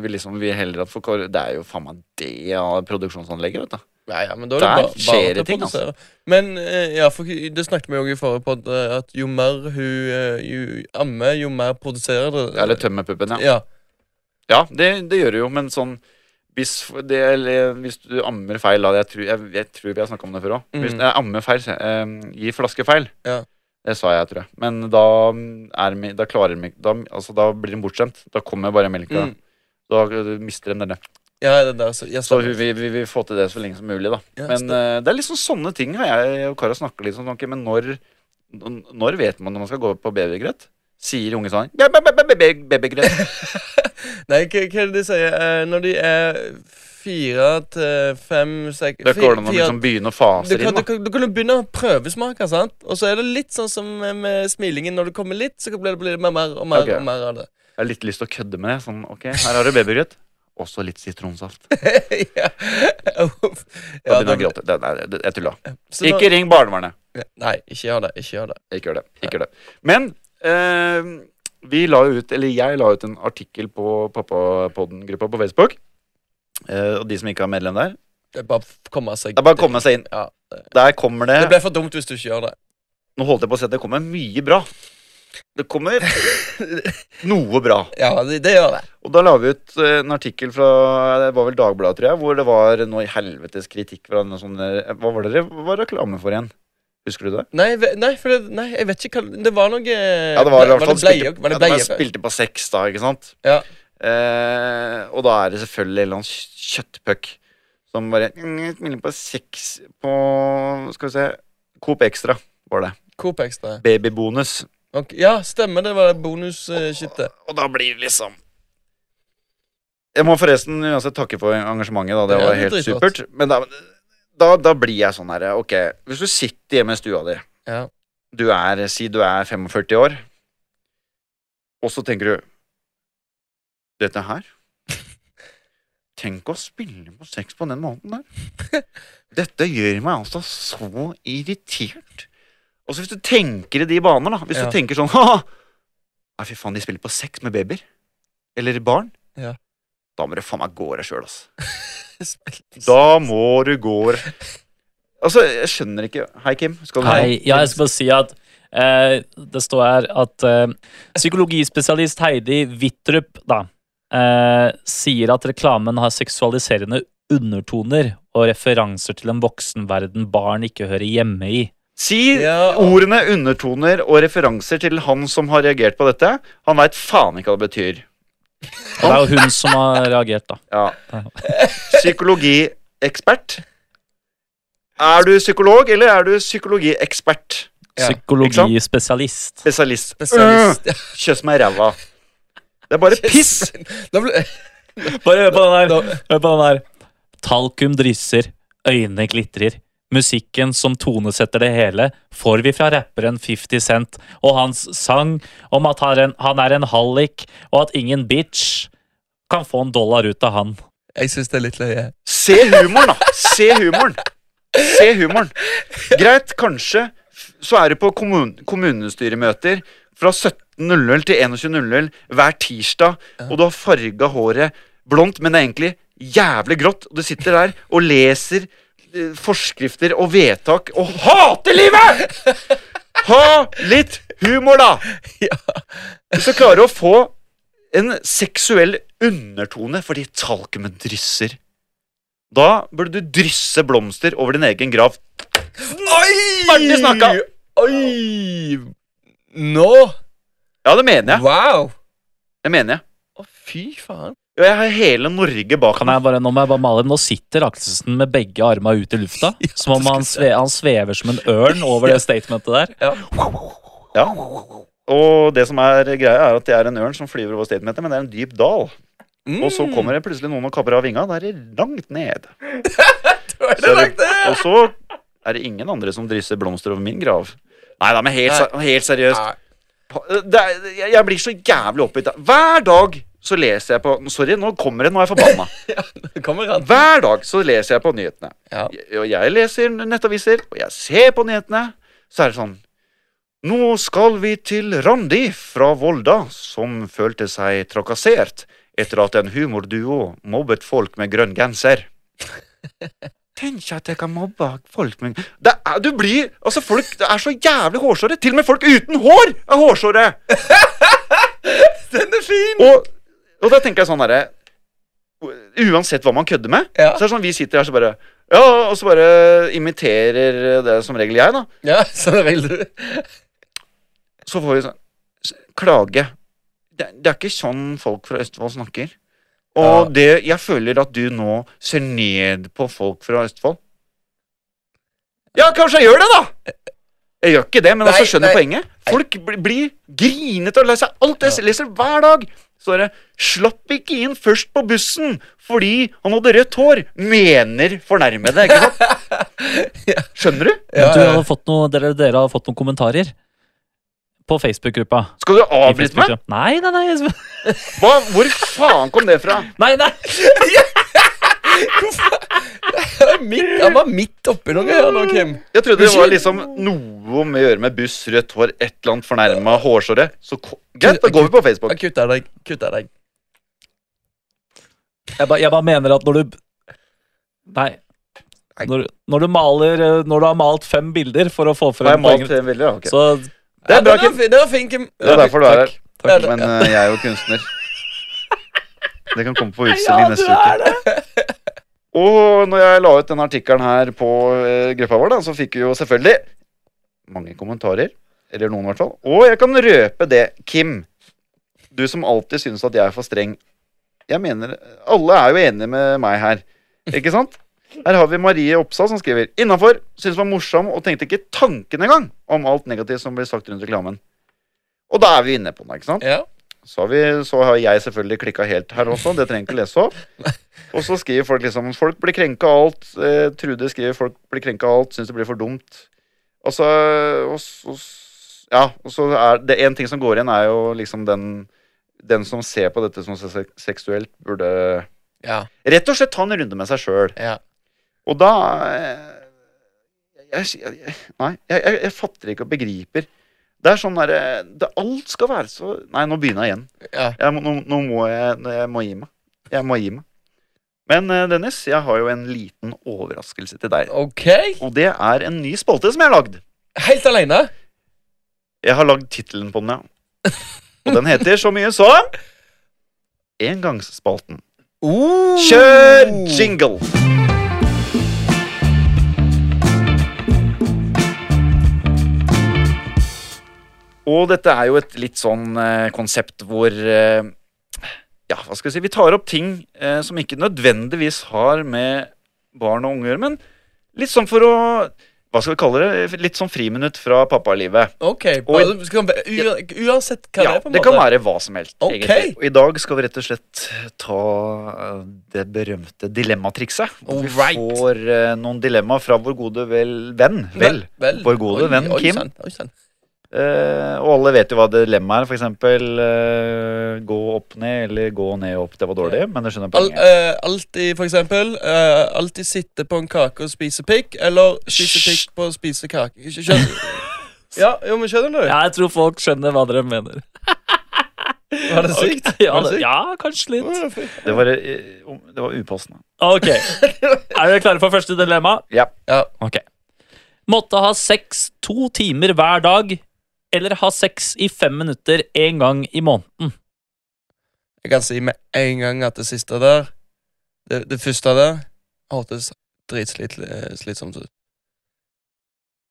Speaker 1: vi liksom Vi heller at for Karo Det er jo faen meg det av produksjonsanlegget, vet du.
Speaker 2: Nei, ja, men da er det
Speaker 1: Der
Speaker 2: bare,
Speaker 1: skjer det
Speaker 2: bare til å
Speaker 1: ting, altså.
Speaker 2: produsere. Men eh, ja, for det snakket vi jo i forrige podd, eh, at jo mer hun eh, jo ammer, jo mer produserer det.
Speaker 1: Eller tømme puppen, ja.
Speaker 2: ja.
Speaker 1: Ja, det, det gjør det jo, men sånn hvis, f- det, eller, hvis du ammer feil, da Jeg tror, jeg, jeg tror vi har snakka om det før òg. Hvis
Speaker 2: Mm.
Speaker 1: jeg ammer feil, så, eh, gi flaske feil.
Speaker 2: Ja.
Speaker 1: Det sa jeg, tror jeg. Men da er mi- Da klarer mi- da, altså, da blir den bortskjemt. Da kommer bare melka.
Speaker 2: Mm.
Speaker 1: Da eh, mister den denne.
Speaker 2: Ja, det der, så, ja,
Speaker 1: Så
Speaker 2: stemmer.
Speaker 1: vi, vi, vi vil få til det så lenge som mulig, da.
Speaker 2: Ja,
Speaker 1: men eh,
Speaker 2: stemmer.
Speaker 1: det er liksom sånne ting har jeg og Kara snakker litt om. ok, men når, n- når vet man når man skal gå på babygrøt? Sier unge sånn «Be- be- be- be- be- Babygrøt.
Speaker 2: Nei, hva, hva er det de sier? Eh, når de er fire til fem sek,
Speaker 1: Det
Speaker 2: fi-
Speaker 1: går an å
Speaker 2: fire-
Speaker 1: liksom begynne å
Speaker 2: du
Speaker 1: fase det inn.
Speaker 2: kan, du,
Speaker 1: da.
Speaker 2: kan, du kan jo begynne å prøvesmake, sant? Og så er det litt sånn som med- med smilingen. Når det kommer litt, så blir det, blir det mer, mer og mer
Speaker 1: Ok.
Speaker 2: og mer av det.
Speaker 1: Jeg har litt lyst til å kødde med det. Sånn, ok, her har du babygrøt. Også litt sitronsaft. Da
Speaker 2: ja. ja,
Speaker 1: begynner jeg å
Speaker 2: da-
Speaker 1: gråte. Det, det, det, jeg tulla.
Speaker 2: så nå-
Speaker 1: Ikke ring barnevernet.
Speaker 2: Nei, ikke gjør det. Ikke gjør det.
Speaker 1: Ikke gjør det. Ikke gjør det. Men eh, vi la jo ut, eller jeg la ut en artikkel på Pappapodden-gruppa på Facebook. Eh, og de som ikke er medlem der,
Speaker 2: Det er bare å komme seg
Speaker 1: det er bare å komme seg inn.
Speaker 2: Ja.
Speaker 1: Der kommer det
Speaker 2: Det blir for dumt hvis du ikke gjør det.
Speaker 1: Nå holdt jeg på å si at det kommer mye bra. Det kommer noe bra.
Speaker 2: Ja, det, det gjør det.
Speaker 1: Og da la vi ut eh, en artikkel fra det var vel Dagbladet, tror jeg, hvor det var noe i helvetes kritikk fra noen sånne Hva var det det var reklame for igjen? Husker du det?
Speaker 2: Nei, ve- nei, for det, nei, jeg vet ikke hva Det var noe
Speaker 1: Ja, det var i hvert fall
Speaker 2: det bleier,
Speaker 1: spilte,
Speaker 2: var
Speaker 1: ja,
Speaker 2: det
Speaker 1: det var
Speaker 2: bleier-
Speaker 1: spilte på seks, da, ikke sant?
Speaker 2: Ja.
Speaker 1: Eh, og da er det selvfølgelig en eller annen kjøttpuck som bare mm, Spiller på seks på Skal vi se Coop Extra var det.
Speaker 2: Coop Extra.
Speaker 1: Babybonus.
Speaker 2: Ok, ja, stemmer. Det var bonus-shitet.
Speaker 1: Og da blir det liksom Jeg må forresten uansett takke for engasjementet, da. Det
Speaker 2: Ja,
Speaker 1: var
Speaker 2: det er
Speaker 1: helt
Speaker 2: dritflott.
Speaker 1: supert. Men da, da, da blir jeg sånn herre, ok Hvis du sitter hjemme i stua di,
Speaker 2: Ja.
Speaker 1: du er, si du er 45 år, og så tenker du Dette her Tenk å spille på sex på den måten der. Dette gjør meg altså så irritert. Og så hvis du tenker i de baner, da. Hvis
Speaker 2: Ja.
Speaker 1: du tenker sånn Haha, Nei, fy faen, de spiller på sex med babyer. Eller barn.
Speaker 2: Ja.
Speaker 1: Da må du faen meg gå deg sjøl, ass.
Speaker 2: Spilte-
Speaker 1: Da må du gå deg Altså, jeg skjønner ikke Hei, Kim. Skal du
Speaker 3: Hei. Ja, jeg skal bare si at eh, det står her at eh, psykologispesialist Heidi Wittrup da, eh, sier at reklamen har seksualiserende undertoner og referanser til en voksenverden barn ikke hører hjemme i.
Speaker 1: Si
Speaker 2: Ja.
Speaker 1: ordene, undertoner og referanser til han som har reagert på dette. Han veit faen ikke hva det betyr.
Speaker 3: Og det er jo hun som har reagert, da.
Speaker 1: Ja. Psykologiekspert. Er du psykolog, eller er du psykologiekspert?
Speaker 2: Ja,
Speaker 3: Psykologispesialist.
Speaker 1: Spesialist.
Speaker 2: Spesialist.
Speaker 1: Øh, Kjøss meg i ræva. Det er bare piss!
Speaker 2: Da ble,
Speaker 3: Bare hør på den
Speaker 2: da,
Speaker 3: her. Hør på den her. Talkum drysser, øynene glitrer. Musikken som tonesetter det hele, får vi fra rapperen 50 Cent og hans sang om at han er en, han er en hallik, og at ingen bitch kan få en dollar ut av han.
Speaker 2: jeg syns det er litt løye.
Speaker 1: Se humoren, da! Se humoren! Se humoren. Greit, kanskje f- så er du på kommun kommunestyremøter fra 17.00 til 21.00 hver tirsdag, og du har farga håret blondt, men det er egentlig jævlig grått, og du sitter der og leser eh, forskrifter og vedtak og hater livet! Ha litt humor, da!
Speaker 2: Ja.
Speaker 1: Hvis du klarer å få en seksuell undertone fordi talkumet drysser da burde du drysse blomster over din egen grav.
Speaker 2: Oi!
Speaker 1: Ferdig snakka.
Speaker 2: Oi! Nå?
Speaker 1: Ja, det mener jeg.
Speaker 2: Wow!
Speaker 1: Det mener jeg.
Speaker 2: Å, fy faen.
Speaker 1: Og jeg har hele Norge bak
Speaker 3: Kan
Speaker 1: meg.
Speaker 3: jeg bare, nå må jeg bare male. Nå sitter Akselsen med begge arma ut i lufta, som om han, sve, han svever som en ørn over det statementet der.
Speaker 1: Ja. Og det som er greia, er at det er en ørn som flyver over statementet, men det er en dyp dal.
Speaker 2: Mm.
Speaker 1: Og så kommer det plutselig noen og kapper av vinga. Da er det langt ned.
Speaker 2: Da
Speaker 1: Så
Speaker 2: er det
Speaker 1: er
Speaker 2: langt
Speaker 1: det,
Speaker 2: ned!
Speaker 1: og så er det ingen andre som drysser blomster over min grav. Nei da, men helt, ser- helt seriøst.
Speaker 2: Nei.
Speaker 1: Det er, jeg- jeg blir så jævlig oppgitt. Hver dag så leser jeg på Sorry, nå kommer det, nå er jeg forbanna.
Speaker 2: Det kommer han.
Speaker 1: Hver dag så leser jeg på nyhetene.
Speaker 2: Ja.
Speaker 1: Jeg- Og jeg leser nettaviser, og jeg ser på nyhetene. Så er det sånn Nå skal vi til Randi fra Volda, som følte seg trakassert etter at en humorduo mobbet folk med grønn genser. Tenk at jeg kan mobbe folk med det er, Du blir Altså, folk det er så jævlig hårsåre. Til og med folk uten hår er hårsåre!
Speaker 2: Den er fin!
Speaker 1: Og, og da tenker jeg sånn herre Uansett hva man kødder med,
Speaker 2: Ja.
Speaker 1: så er det sånn vi sitter her så bare Ja, og så bare imiterer det som regel jeg, da.
Speaker 2: Ja, sånn vil du.
Speaker 1: Så får vi sånn s- klage. Det, det er ikke sånn folk fra Østfold snakker. Og
Speaker 2: Ja.
Speaker 1: det, jeg føler at du nå ser ned på folk fra Østfold. Ja, kanskje jeg gjør det, da! Jeg gjør ikke det, men
Speaker 2: Nei,
Speaker 1: altså skjønner
Speaker 2: nei.
Speaker 1: poenget. Folk bli- blir grinete og lei seg. Alt jeg leser hver dag. Så er det 'slapp ikke inn først på bussen fordi han hadde rødt hår', mener fornærmede. Ikke sant? Skjønner du?
Speaker 2: Ja,
Speaker 3: du
Speaker 2: ja.
Speaker 3: hadde fått noe, dere, dere har fått noen kommentarer på Facebook-gruppa.
Speaker 1: Skal du
Speaker 3: I
Speaker 1: avbryte meg?
Speaker 3: Facebook-gruppa. Nei, nei, nei. jeg-
Speaker 1: Hva, hvor faen kom det fra?
Speaker 3: Nei, nei.
Speaker 2: Han er midt, han var midt oppi noe her nå, Kim.
Speaker 1: Jeg trodde det var liksom noe med å gjøre med buss, rødt hår, et eller annet fornærma hårsåre. Så ko- greit, da går vi på Facebook.
Speaker 2: Jeg kutta deg. Kutta deg.
Speaker 3: Jeg bare, jeg bare mener at når du Nei.
Speaker 2: Nei.
Speaker 3: Når, når du maler eh, Når du har malt fem bilder for å få
Speaker 1: Har jeg
Speaker 3: frem
Speaker 1: malt
Speaker 3: poenget,
Speaker 1: det veldig? Ja, ok.
Speaker 3: så
Speaker 1: Det er bra,
Speaker 2: den
Speaker 1: Kim.
Speaker 2: fin- Den var fin, Kim.
Speaker 1: Det er derfor du er her.
Speaker 2: Takk.
Speaker 1: Men eh, jeg er jo kunstner. Det kan komme på utstilling neste
Speaker 3: er
Speaker 1: uke. Og når jeg la ut denne artikkelen her på eh, gruppa vår, da, så fikk vi jo selvfølgelig mange kommentarer. Eller noen, i hvert fall. Og jeg kan røpe det, Kim. Du som alltid synes at jeg er for streng. Jeg mener, Alle er jo enige med meg her, ikke sant? Her har vi Marie Oppsal som skriver innafor. Synes var morsom og tenkte ikke tanken engang om alt negativt som blir sagt rundt reklamen. Og da er vi inne på noe, ikke sant?
Speaker 2: Ja.
Speaker 1: Så har, vi, så har jeg selvfølgelig klikka helt her også. Det trenger jeg ikke lese opp. Og så skriver folk liksom Folk blir krenka av alt. Eh, Trude skriver folk blir krenka av alt, syns det blir for dumt. Og så og, s- og, s- Ja, og så er det en ting som går igjen, er jo liksom den Den som ser på dette som se- seksuelt, burde
Speaker 2: Ja.
Speaker 1: Rett og slett ta en runde med seg sjøl.
Speaker 2: ja.
Speaker 1: Og da eh, jeg, jeg, jeg, Nei, jeg, jeg, jeg fatter ikke og begriper. Det er sånn derre det- Alt skal være så Nei, nå begynner jeg igjen.
Speaker 2: Ja.
Speaker 1: Jeg må, nå, nå må jeg, nå- jeg må gi meg. Jeg må gi meg. Men eh, Dennis, jeg har jo en liten overraskelse til deg.
Speaker 2: OK.
Speaker 1: Og det er en ny spalte som jeg har lagd.
Speaker 2: Helt aleine.
Speaker 1: Jeg har lagd tittelen på den, ja. Og den heter så mye som Engangsspalten.
Speaker 2: Oh.
Speaker 1: Kjør jingle! Og dette er jo et litt sånn eh, konsept hvor eh, Ja, hva skal vi si Vi tar opp ting eh, som ikke nødvendigvis har med barn og unge å gjøre, men litt sånn for å Hva skal vi kalle det? Litt sånn friminutt fra pappalivet.
Speaker 2: OK.
Speaker 1: Oi.
Speaker 2: Bare, skal, han- u- uansett hva
Speaker 1: Ja,
Speaker 2: det er, på en
Speaker 1: det
Speaker 2: måte.
Speaker 1: kan være hva som helst.
Speaker 2: Ok.
Speaker 1: egentlig. Og I dag skal vi rett og slett ta eh, det berømte dilemmatrikset. Hvor vi
Speaker 2: Alright.
Speaker 1: får eh, noen dilemma fra vår gode vel, venn. Vel. Vår gode
Speaker 2: Oi,
Speaker 1: venn
Speaker 2: oi,
Speaker 1: Kim.
Speaker 2: sann, oi, sann.
Speaker 1: Eh, og alle vet jo hva dilemma er. For eksempel eh, gå opp ned eller gå ned opp. Det var dårlig, men du skjønner
Speaker 2: Al,
Speaker 1: poenget.
Speaker 2: eh, alltid, for eksempel, eh, alltid sitte på en kake og spise pikk, eller spise
Speaker 1: Hysj.
Speaker 2: pikk på å spise kake. Ikke Skjønner Ja, jo, men skjønner du?
Speaker 3: Ja, jeg tror folk skjønner hva dere mener.
Speaker 2: Var det sykt?
Speaker 3: Ja,
Speaker 2: Var det
Speaker 3: det,
Speaker 2: sykt?
Speaker 3: ja kanskje litt.
Speaker 1: Det, var, eh, om- det var upassende.
Speaker 3: Ok. Er dere klare for første dilemma?
Speaker 1: Ja.
Speaker 2: Ja.
Speaker 3: Ok. Måtte ha sex to timer hver dag, eller ha sex i fem minutter en gang i måneden.
Speaker 2: Jeg kan si med en gang at det siste der Det, det første der hørtes dritslitsomt ut.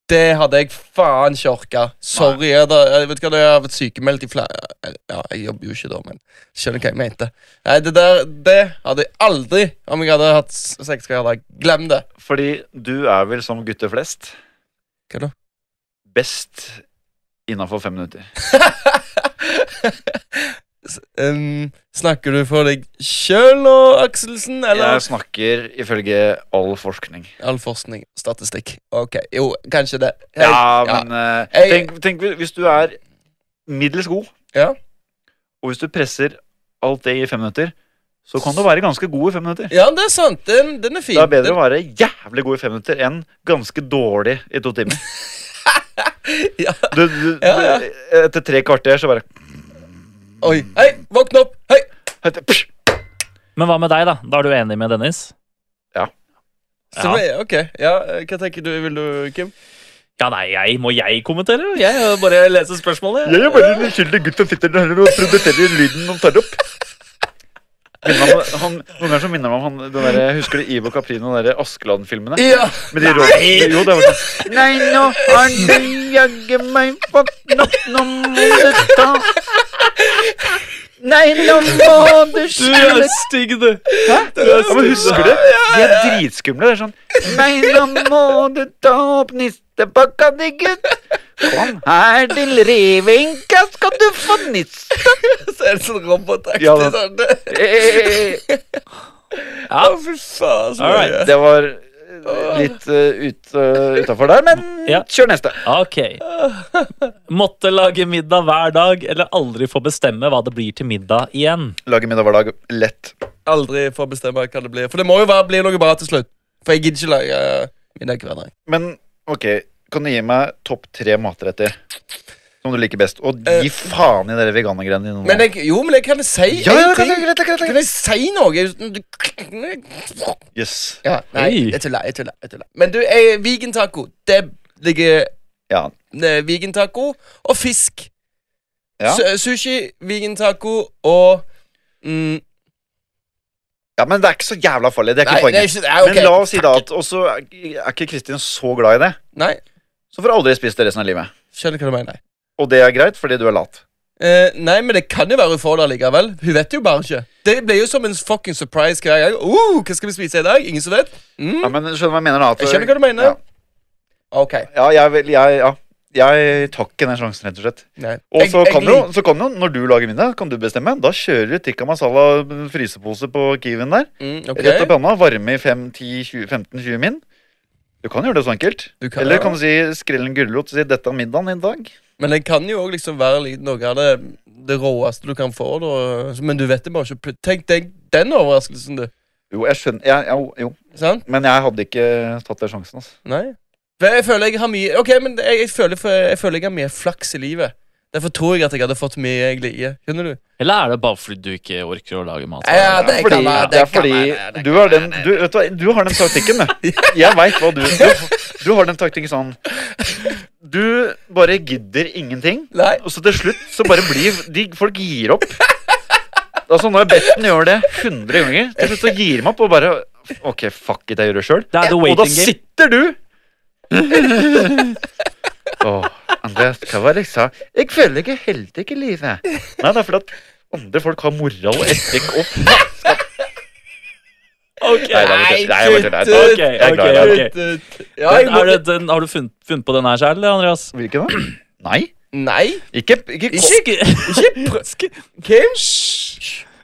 Speaker 2: Det hadde jeg faen ikke orka. Sorry. Jeg, da, jeg vet ikke hva det er, jeg har vært sykemeldt i flere Ja, jeg jobber jo ikke da, men skjønner hva jeg mente. Nei, det der Det hadde jeg aldri om jeg hadde hatt s- sex hver dag. Glem det.
Speaker 1: Fordi du er vel som gutter flest
Speaker 2: Hva da?
Speaker 1: best innafor fem minutter.
Speaker 2: Um, snakker du for deg sjøl nå, Akselsen, eller
Speaker 1: Jeg snakker ifølge all forskning.
Speaker 2: all forskning? Statistikk. Ok, jo, kanskje det. Hei.
Speaker 1: Ja, men eh,
Speaker 2: Jeg-
Speaker 1: tenk, tenk hvis du er middels god,
Speaker 2: Ja.
Speaker 1: og hvis du presser alt det i fem minutter, så kan du være ganske god i fem minutter.
Speaker 2: ja, det er sant. Den, den er fin.
Speaker 1: Det er bedre å være jævlig god i fem minutter enn ganske dårlig i to timer.
Speaker 2: Ja.
Speaker 1: Du, du,
Speaker 2: Ja,
Speaker 1: Etter tre kvarter så bare
Speaker 2: Den, oi. Hei, våkne opp! Hei!
Speaker 3: Men hva med deg, da? Da er du enig med Dennis?
Speaker 2: Så,
Speaker 3: Ja.
Speaker 2: Ok, ja, eh, hva tenker du, vil du, Kim?
Speaker 3: Ja, nei, jeg, må jeg kommentere? eller? Jeg bare leser spørsmålet.
Speaker 1: Jeg er bare en uskyldig gutt som sitter der og produserer lyden han tar opp. Minner meg om- Han, noen ganger så minner han meg om han, den der, husker du Ivo Caprino og de der Askeland-filmene?
Speaker 2: Ja!
Speaker 1: Med de rådene Jo, det var sånn Nei, nå har du jaggu meg våknet opp, nå må du ta Nei, nå må du slutte
Speaker 3: stygg, du.
Speaker 1: Hæ? Ja, men husker du? De er dritskumle. Det er sånn Nei, nå må du ta opp nistepakka di, gutt. Kom her til revenka, skal du få nist...
Speaker 2: Så er det sånn robotaktig.
Speaker 1: Ja, det-
Speaker 2: sånn. det-
Speaker 1: Eh,
Speaker 2: Å, fy faen. Så
Speaker 3: Alright.
Speaker 2: mye.
Speaker 1: Det var eh, litt uh, ut, eh, utafor der,
Speaker 3: Ja.
Speaker 1: men kjør neste.
Speaker 3: Ok. Måtte lage middag hver dag, eller aldri få bestemme hva det blir til middag igjen.
Speaker 1: Lage middag hver dag. Lett.
Speaker 2: Aldri få bestemme hva det blir. For det må jo være, bli noe bra til slutt. For jeg gidder ikke lage eh, middag hver dag.
Speaker 1: Men ok, kan du gi meg topp tre matretter som du liker best? Og
Speaker 2: Eh,
Speaker 1: gi faen i dere veganergreiene dine nå.
Speaker 2: Men jeg, jo, men jeg kan si
Speaker 1: ja, ja,
Speaker 2: en ting.
Speaker 1: greit, greit, greit,
Speaker 2: Kan
Speaker 1: greit.
Speaker 2: jeg si noe uten du-
Speaker 1: Yes.
Speaker 2: Ja, nei,
Speaker 3: Oi.
Speaker 2: jeg tuller, jeg tuller, jeg tuller. Men du, eh, vegan taco, det ligger
Speaker 1: Ja.
Speaker 2: eh, Vegan taco og fisk.
Speaker 1: Ja.
Speaker 2: Su- Sushi, vegan taco og mm,
Speaker 1: ja, men det er ikke så jævla farlig. Det er
Speaker 2: Nei,
Speaker 1: ikke
Speaker 2: det er
Speaker 1: poenget.
Speaker 2: ikke nei, ok.
Speaker 1: Men la oss si da at Og så er er ikke Kristin så glad i det,
Speaker 2: Nei,
Speaker 1: så får du aldri spist det resten av livet.
Speaker 2: skjønner hva du mener.
Speaker 1: Og det er greit, fordi du er lat.
Speaker 2: Eh, nei, men det kan jo være hun får det likevel. Hun vet jo bare ikke. Det blir jo som en fucking surprise hver gang. Uh, hva skal vi spise i dag? Ingen som vet? Mm.
Speaker 1: Ja, men skjønner du hva jeg mener? da at-
Speaker 2: Jeg skjønner hva du mener.
Speaker 1: Ja,
Speaker 2: Ok.
Speaker 1: ja jeg, vil- jeg, ja. jeg tar ikke den sjansen, rett og slett.
Speaker 2: Nei.
Speaker 1: Og
Speaker 2: Jeg-
Speaker 1: så
Speaker 2: jeg
Speaker 1: kan, jo,
Speaker 2: lik-
Speaker 1: så kan jo, når du lager middag, kan du bestemme. Da kjører du tikka masala frysepose på Kiwien der.
Speaker 2: mm, ok.
Speaker 1: Rett opp i hånda, varme i 5-10-15-20 min. Du kan gjøre det så enkelt.
Speaker 2: Du kan,
Speaker 1: Eller
Speaker 2: ja.
Speaker 1: kan du si skrell en gulrot og si 'dette er middagen i dag'.
Speaker 2: Men den kan jo òg liksom være litt noe av det, det råeste du kan få. Da. Men du vet det bare ikke. plut- Tenk deg den overraskelsen, du.
Speaker 1: Jo, jeg skjønner jeg, jo, jo.
Speaker 2: Sant?
Speaker 1: Men jeg hadde ikke tatt den sjansen. Altså.
Speaker 2: Nei. Men Jeg føler jeg har mye Ok, men jeg, jeg, føler, for- jeg føler jeg har mye flaks i livet. Derfor tror jeg at jeg hadde fått mye jeg liker. Skjønner du?
Speaker 3: Eller er det bare fordi du ikke orker å lage mat?
Speaker 2: Ja, det
Speaker 1: fordi,
Speaker 2: kan
Speaker 1: det er
Speaker 2: være, det kan
Speaker 1: fordi
Speaker 2: være, det
Speaker 1: du, er den, du, vet du, hva, du har den taktikken, du. Jeg veit hva du Du, du har den taktikken sånn Du bare gidder ingenting,
Speaker 2: Nei.
Speaker 1: og så til slutt så bare blir de, Folk gir opp. Altså, når jeg har bedt den gjøre det 100 ganger, til slutt så gir de opp og bare Ok, fuck it, jeg gjør det sjøl.
Speaker 3: Det er the
Speaker 1: Og da
Speaker 3: waiting game.
Speaker 1: sitter du Åh, Andreas, hva var det jeg sa? Jeg føler jeg er heldig i livet. Nei, det er fordi at andre folk har moral og etikk og
Speaker 3: Ok.
Speaker 1: Nei, det er bare tull. Nei, jeg bare tuller.
Speaker 2: kutt
Speaker 3: Ok,
Speaker 1: er glad i
Speaker 3: ok,
Speaker 1: deg.
Speaker 3: ok.
Speaker 2: Ja, jeg
Speaker 3: Den,
Speaker 2: må,
Speaker 3: er det, den, har du funnet, funnet på den her selv, eller, Andreas?
Speaker 1: Hvilken da? Nei.
Speaker 2: nei.
Speaker 1: Ikke, ikke,
Speaker 2: Ikke-
Speaker 3: Ikke
Speaker 2: Kim?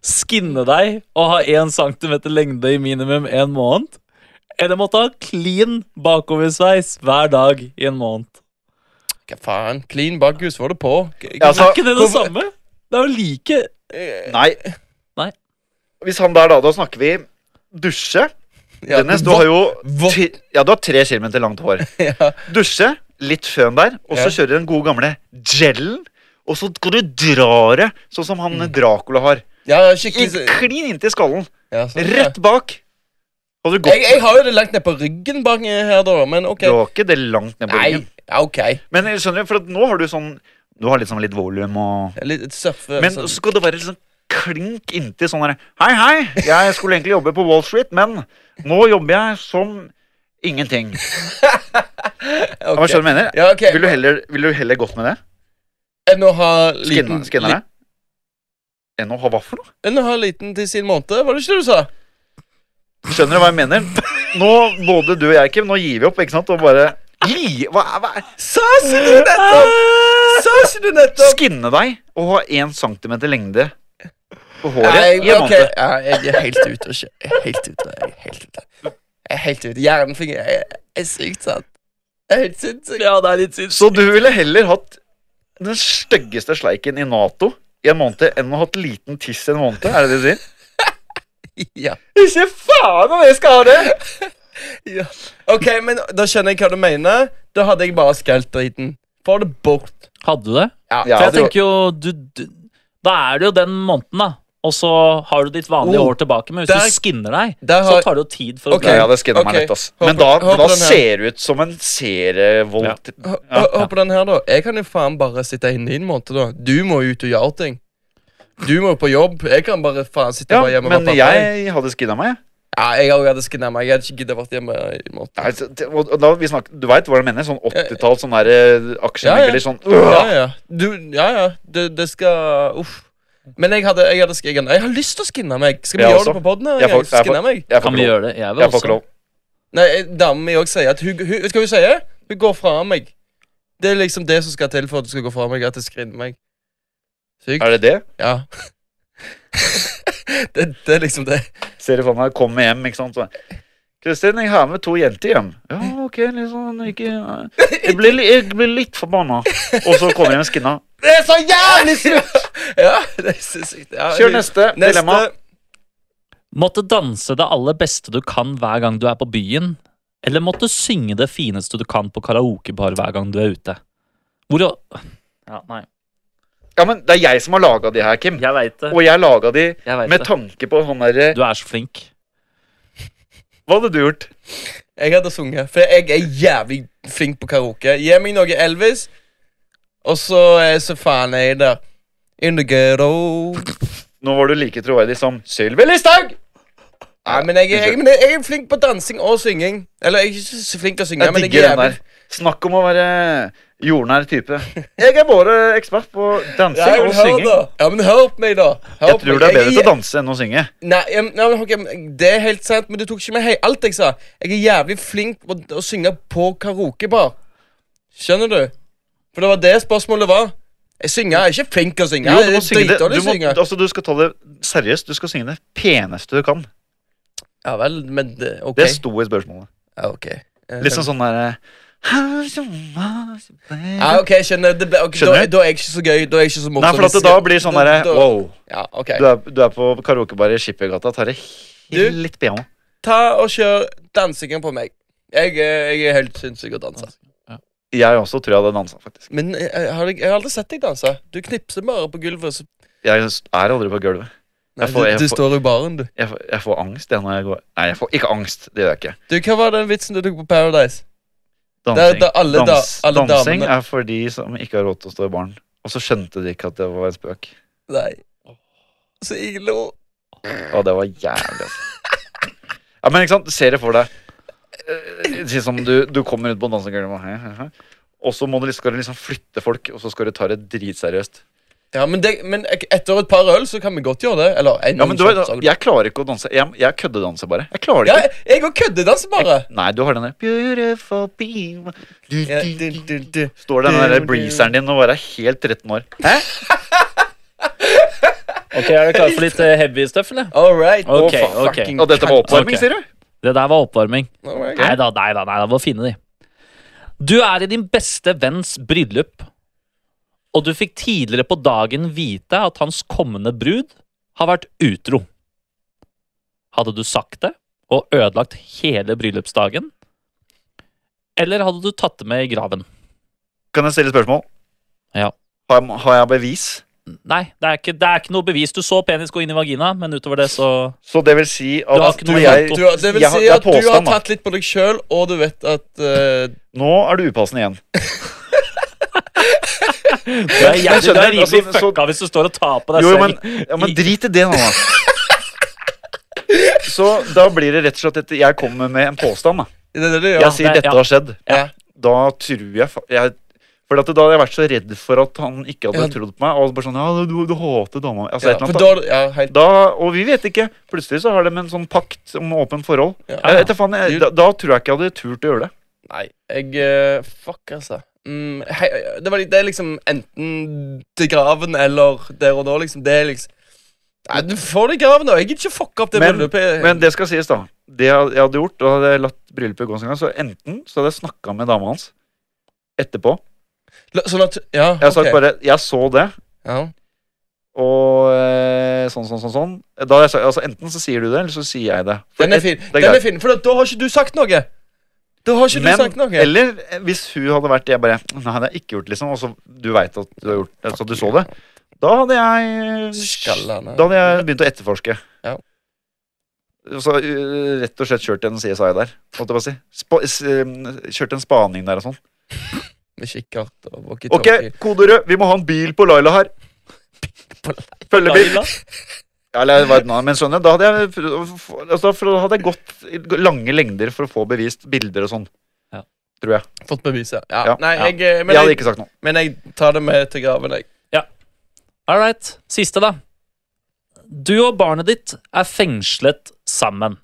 Speaker 3: Skinne deg og ha 1 cm lengde i minimum en måned? Eller måtte ha clean bakoversveis hver dag i en måned?
Speaker 2: Hva faen? Clean bakhus, var det på? K-
Speaker 1: Ja, altså-
Speaker 3: Er ikke det det
Speaker 2: Hvorfor-
Speaker 3: samme? Det er jo like
Speaker 2: eh,
Speaker 1: Nei.
Speaker 3: Nei.
Speaker 1: Hvis han der, da, da snakker vi dusje.
Speaker 2: ja,
Speaker 1: Dennis, du har jo
Speaker 2: Vå-
Speaker 1: ti, Ja, du har tre kilometer langt hår.
Speaker 2: ja.
Speaker 1: Dusje, litt føn der, og så
Speaker 2: Ja.
Speaker 1: kjører du den gode gamle gelen. Og så skal du dra det, sånn som han Dracula har.
Speaker 2: ja,
Speaker 1: I,
Speaker 2: skikkelig
Speaker 1: klin inntil skallen.
Speaker 2: ja, sånn, ja.
Speaker 1: Rett bak. Hadde du gått
Speaker 2: Jeg, jeg har jo det langt ned på ryggen bak her, da, men OK.
Speaker 1: Du har ikke det langt ned på
Speaker 2: Nei,
Speaker 1: ryggen.
Speaker 2: ja, OK.
Speaker 1: Men jeg skjønner, for at nå har du sånn Du har litt sånn litt volum og
Speaker 2: Litt surfe...
Speaker 1: Men så
Speaker 2: sånn.
Speaker 1: skal det være litt sånn klink inntil sånn derre Hei, hei, jeg skulle egentlig jobbe på Wall Street, men nå jobber jeg som ingenting. Ja,
Speaker 2: Ok.
Speaker 1: men skjønner du hva jeg mener?
Speaker 2: Ja, ok.
Speaker 1: Vil du heller, vil du heller gått med det?
Speaker 2: Enn å ha liten
Speaker 1: Skinner, skinner det? Enn å ha Eh, hva for noe?
Speaker 2: li- Enn å ha liten til sin måned, var det ikke det du sa?
Speaker 1: Skjønner du hva jeg mener? Nå, både du og jeg, Kim, nå gir vi opp, ikke sant? Og bare Gi? Hva, hva?
Speaker 2: Sa ikke du nettopp! sa ikke du nettopp?
Speaker 1: Skinne deg og ha én centimeter lengde på håret
Speaker 2: Nei,
Speaker 1: i en
Speaker 2: ok,
Speaker 1: måned.
Speaker 2: ja, jeg er helt ute. og kjø- Jeg er helt ute. Jeg er helt ute. Jeg er helt ute. Hjernen fungerer. Jeg jeg er sykt sant. Jeg er helt sinnssyk. Ja, det er litt sinnssykt.
Speaker 1: Så du ville heller hatt den styggeste sleiken i Nato i en måned enn å ha hatt liten tiss i en måned? Er det det du sier?
Speaker 2: Ja.
Speaker 1: Ikke faen om jeg skal ha det!
Speaker 2: ja. Ok, men da skjønner jeg hva du mener. Da hadde jeg bare skrelt driten. Få det bort.
Speaker 3: Hadde du det?
Speaker 1: Ja,
Speaker 2: Ja.
Speaker 3: For jeg
Speaker 1: det var-
Speaker 3: tenker jo du, du, Da er det jo den måneden, da. Og så har du ditt vanlige
Speaker 2: Oh,
Speaker 3: hår tilbake. Men hvis
Speaker 2: der-
Speaker 3: du skinner deg,
Speaker 2: der har-
Speaker 3: så tar det jo tid for å
Speaker 2: Ok.
Speaker 1: Nei,
Speaker 3: bli
Speaker 1: jeg hadde skinnet
Speaker 2: ok.
Speaker 1: meg lett, ass.
Speaker 2: Håper-
Speaker 1: Men da,
Speaker 2: håper
Speaker 1: da
Speaker 2: den her.
Speaker 1: ser du ut som en serievoldt
Speaker 2: Hør
Speaker 1: Ja,
Speaker 2: hør på den her, da. Jeg kan jo faen bare sitte inne i en måned, da. Du må ut og gjøre ting. Du må på jobb. Jeg kan bare faen sitte
Speaker 1: Ja,
Speaker 2: bare hjemme
Speaker 1: men
Speaker 2: med pappa.
Speaker 1: jeg hadde skinnet meg. jeg.
Speaker 2: Ja, jeg òg hadde skinnet meg. Jeg hadde ikke giddet vært hjemme i en måned.
Speaker 1: Nei, så- det- og og da vi snakker, Du veit hva jeg mener? Sånn 80-tall, sånn derre aksjemegler,
Speaker 2: Ja, ja.
Speaker 1: sånn
Speaker 2: Ja,
Speaker 1: øh.
Speaker 2: ja. Du, ja, ja. Det, det skal Uff. Men jeg hadde, jeg hadde skinnet Jeg har lyst til å skinne meg. Skal vi
Speaker 1: Jeg
Speaker 2: gjøre
Speaker 1: også.
Speaker 2: det på poden?
Speaker 1: Jeg får- jeg
Speaker 2: Skinne meg?
Speaker 1: Jeg får ikke
Speaker 3: Kan vi
Speaker 1: lov.
Speaker 3: gjøre det? Jeg vil
Speaker 1: Jeg får ikke
Speaker 3: også.
Speaker 1: lov.
Speaker 2: Nei, eh, damen min òg sier at hun, hun Vet du hva hun sier? Hun går fra meg. Det er liksom det som skal til for at du skal gå fra meg, at jeg skinner meg. Sykt.
Speaker 1: Er det det?
Speaker 2: Ja. det, det er liksom det.
Speaker 1: Ser du for meg kommer hjem, ikke sant. så, Kristin, jeg har med to jenter hjem. Ja, ok, liksom ikke, Jeg blir, li- jeg blir litt forbanna. Og så kommer jeg med skinna.
Speaker 2: Det er så jævlig sykt! ja, det er så sykt. Ja,
Speaker 1: Kjør
Speaker 2: hun-
Speaker 1: neste dilemma.
Speaker 3: Måtte danse det aller beste du kan hver gang du er på byen, eller måtte synge det fineste du kan på karaokebar hver gang du er ute. Hvor å Ja, nei.
Speaker 1: Ja, men Det er jeg som har laga de her, Kim.
Speaker 3: Jeg veit det.
Speaker 1: Og jeg laga de
Speaker 3: Jeg vet
Speaker 1: med
Speaker 3: det.
Speaker 1: tanke på sånn derre
Speaker 3: Du er så flink.
Speaker 1: Hva hadde du gjort?
Speaker 2: Jeg hadde sunget, for jeg er jævlig flink på karaoke. Gi meg noe Elvis, og så er så faen er jeg der. In the ghetto.
Speaker 1: Nå var du like troverdig som Sylvi Listhaug!
Speaker 2: Nei, men jeg, jeg, men jeg er flink på dansing og synging. Eller jeg er ikke så flink til å synge,
Speaker 1: Jeg
Speaker 2: men jeg
Speaker 1: digger
Speaker 2: er
Speaker 1: den
Speaker 2: jævlig
Speaker 1: der. Snakk om å være jordnær type. Jeg er bare ekspert på
Speaker 2: ja,
Speaker 1: dansing
Speaker 2: men
Speaker 1: og
Speaker 2: hør
Speaker 1: synging.
Speaker 2: da. ja, men hør på meg, da. Hør
Speaker 1: Jeg
Speaker 2: på
Speaker 1: tror
Speaker 2: meg.
Speaker 1: det er bedre
Speaker 2: Jeg
Speaker 1: til å danse enn å synge.
Speaker 2: Nei, jeg, nei, men ok, men Det er helt sant, men du tok ikke med hei, alt jeg sa. Jeg er jævlig flink på å synge på karaokebar. Skjønner du? For det var det spørsmålet var. Jeg synger, jeg er ikke flink til å synge.
Speaker 1: Jo, du
Speaker 2: jeg
Speaker 1: må
Speaker 2: er
Speaker 1: synge det.
Speaker 2: dritdårlig
Speaker 1: Du,
Speaker 2: til å
Speaker 1: må,
Speaker 2: synge.
Speaker 1: altså, du skal ta det seriøst. Du skal synge det peneste du kan.
Speaker 2: Ja vel, men det- ok.
Speaker 1: Det sto i spørsmålet.
Speaker 2: Ja, ok. Eh,
Speaker 1: Litt sånn sånn derre
Speaker 2: Ja,
Speaker 1: Nei,
Speaker 2: ok, jeg skjønner. Det ble, ok,
Speaker 1: Skjønner
Speaker 2: da,
Speaker 1: du?
Speaker 2: da er jeg ikke så gøy. Da er jeg ikke så morsom.
Speaker 1: for at det da blir sånn derre
Speaker 2: Da- da-
Speaker 1: Wow.
Speaker 2: Ja, ok.
Speaker 1: Du er, du er på karaokebar i Skippergata. Tar det
Speaker 2: Du-
Speaker 1: litt piano.
Speaker 2: Ta og kjør dansingen på meg. Jeg, er- jeg er helt sinnssyk å danse.
Speaker 1: Jeg også tror jeg hadde dansa, faktisk.
Speaker 2: Men jeg, jeg, har, jeg har aldri sett deg danse. Du knipser bare på gulvet. Så,
Speaker 1: Jeg er aldri på gulvet.
Speaker 2: nei,
Speaker 1: Jeg får- jeg
Speaker 2: du, du
Speaker 1: får-
Speaker 2: står i baren, du.
Speaker 1: Jeg får, jeg får angst jeg, når jeg går Nei, jeg får ikke angst. Det gjør jeg ikke.
Speaker 2: Du, Hva var den vitsen du tok på Paradise?
Speaker 1: Dansing,
Speaker 2: Det er- det er alle da- alle
Speaker 1: dansing
Speaker 2: damene.
Speaker 1: er for de som ikke har råd til å stå i baren. Og så skjønte de ikke at det var en spøk.
Speaker 2: Nei. Så jeg lo.
Speaker 1: Og det var jævlig, altså. Ja, men ikke sant, se det for deg. Eh, Si som du, du kommer ut på dansegulvet, og hei, hei, hei. og så må du, liksom- skal du liksom flytte folk, og så skal du ta det dritseriøst.
Speaker 2: Ja, men, det, men ek- etter et par øl så kan vi godt gjøre det. Eller en
Speaker 1: Ja, men du,
Speaker 2: shot, så-
Speaker 1: Jeg klarer ikke å danse. Jeg, jeg køddedanser bare. Jeg klarer det
Speaker 2: ja,
Speaker 1: ikke.
Speaker 2: Jeg òg køddedanser bare.
Speaker 1: Nei, du har den der Beautiful people Du,
Speaker 2: Ja,
Speaker 1: du,
Speaker 2: du, du, du.
Speaker 1: Står den der breezeren din og bare er helt 13 år.
Speaker 3: Ok, Er du klar for litt eh, heavy stuff, eller?
Speaker 2: All right.
Speaker 3: Ok,
Speaker 2: Å,
Speaker 3: ok.
Speaker 2: fucking
Speaker 1: Og dette var oppvarming,
Speaker 3: Ok.
Speaker 1: sier du?
Speaker 3: Det der var oppvarming.
Speaker 2: all right.
Speaker 3: Nei da, nei da, nei da, må finne de. Du er i din beste venns bryllup, og du fikk tidligere på dagen vite at hans kommende brud har vært utro. Hadde du sagt det og ødelagt hele bryllupsdagen? Eller hadde du tatt det med i graven?
Speaker 1: Kan jeg stille spørsmål?
Speaker 3: Ja.
Speaker 1: Har, jeg- har jeg bevis?
Speaker 3: Nei, det er ikke, det er ikke noe bevis. Du så penis gå inn i vagina, men utover det så
Speaker 1: Så det vil si at
Speaker 3: Du har ikke noe
Speaker 1: når
Speaker 3: foto.
Speaker 1: jeg,
Speaker 2: Du, har- det vil
Speaker 1: Jeg har-
Speaker 2: si
Speaker 1: det er
Speaker 2: at du har
Speaker 1: påstand, da.
Speaker 2: tatt litt på deg sjøl, og du vet at eh,
Speaker 1: Nå er du upassende igjen.
Speaker 3: Du er
Speaker 1: Men
Speaker 3: jævlig,
Speaker 1: skjønner
Speaker 3: du er
Speaker 1: du,
Speaker 3: rimelig
Speaker 1: altså, så-
Speaker 3: fucka hvis du står og tar på deg
Speaker 1: Jo, jo, men,
Speaker 3: selv.
Speaker 1: ja, men drit i det nå, da. Så da blir det rett og slett at jeg kommer med en påstand. da
Speaker 2: Det er det du gjør.
Speaker 1: Jeg sier
Speaker 3: det-
Speaker 1: dette
Speaker 3: ja.
Speaker 1: har skjedd.
Speaker 2: Ja.
Speaker 1: Da tror jeg, fa- jeg For at da hadde jeg vært så redd for at han ikke hadde
Speaker 2: Ja.
Speaker 1: trodd på meg. Og bare sånn, ja, du, du hater dama mi», altså,
Speaker 2: ja,
Speaker 1: et eller
Speaker 2: for
Speaker 1: annet,
Speaker 2: da, ja, helt,
Speaker 1: da, Og vi vet ikke. Plutselig så har de en sånn pakt om åpent forhold.
Speaker 2: Ja.
Speaker 1: Jeg vet da faen, jeg, da, da tror jeg ikke jeg hadde turt å gjøre det.
Speaker 2: Nei, jeg eh, Fuck, altså. mm, hei, det, var, det er liksom enten til graven eller der og da, liksom. Det er liksom Nei, du får det i graven, da. Jeg gidder ikke fucke opp det
Speaker 1: Men-
Speaker 2: bryllupet.
Speaker 1: Men det skal sies, da. Det jeg jeg hadde gjort, og hadde jeg latt bryllupet gå sin gang, så enten så hadde jeg snakka med dama hans etterpå.
Speaker 2: La- Sånn at Ja,
Speaker 1: Jeg hadde
Speaker 2: ok.
Speaker 1: sagt bare 'jeg så det',
Speaker 2: ja.
Speaker 1: og eh, sånn, sånn, sånn. sånn. Da hadde jeg sagt, altså Enten så sier du det, eller så sier jeg det. For
Speaker 2: Den er
Speaker 1: et-
Speaker 2: fin,
Speaker 1: det
Speaker 2: den
Speaker 1: greit.
Speaker 2: er fin for da- da har ikke du sagt noe. Da har ikke du
Speaker 1: Men,
Speaker 2: sagt noe.
Speaker 1: eller eh, hvis hun hadde vært Jeg bare Nei, det har jeg ikke gjort, liksom. Og så du veit altså, at du har gjort det, så du så det. Da hadde jeg eh,
Speaker 2: Skallene.
Speaker 1: Da hadde jeg begynt å etterforske.
Speaker 2: Ja.
Speaker 1: Så eh, rett og slett kjørt en CSI der, holdt jeg på å si. Spa, s, eh, kjørt en spaning der og sånn.
Speaker 2: Med kikkert og
Speaker 1: Ok,
Speaker 2: walkietalkie.
Speaker 1: kode rød, vi må ha en bil på Laila her. Følgebil.
Speaker 3: Laila?
Speaker 1: Ja, eller det var et navn, men skjønner, da hadde jeg, prøvd å få- altså, for da hadde jeg gått i lange lengder for å få bevist bilder og sånn.
Speaker 3: Ja.
Speaker 1: Tror jeg.
Speaker 2: Fått beviset. Ja.
Speaker 1: Ja,
Speaker 2: Nei,
Speaker 3: ja.
Speaker 2: jeg, eh, men,
Speaker 1: Jeg hadde
Speaker 2: jeg,
Speaker 1: ikke sagt noe.
Speaker 2: men jeg tar det med til graven, jeg.
Speaker 3: All right. Siste, da. Du og barnet ditt er fengslet sammen.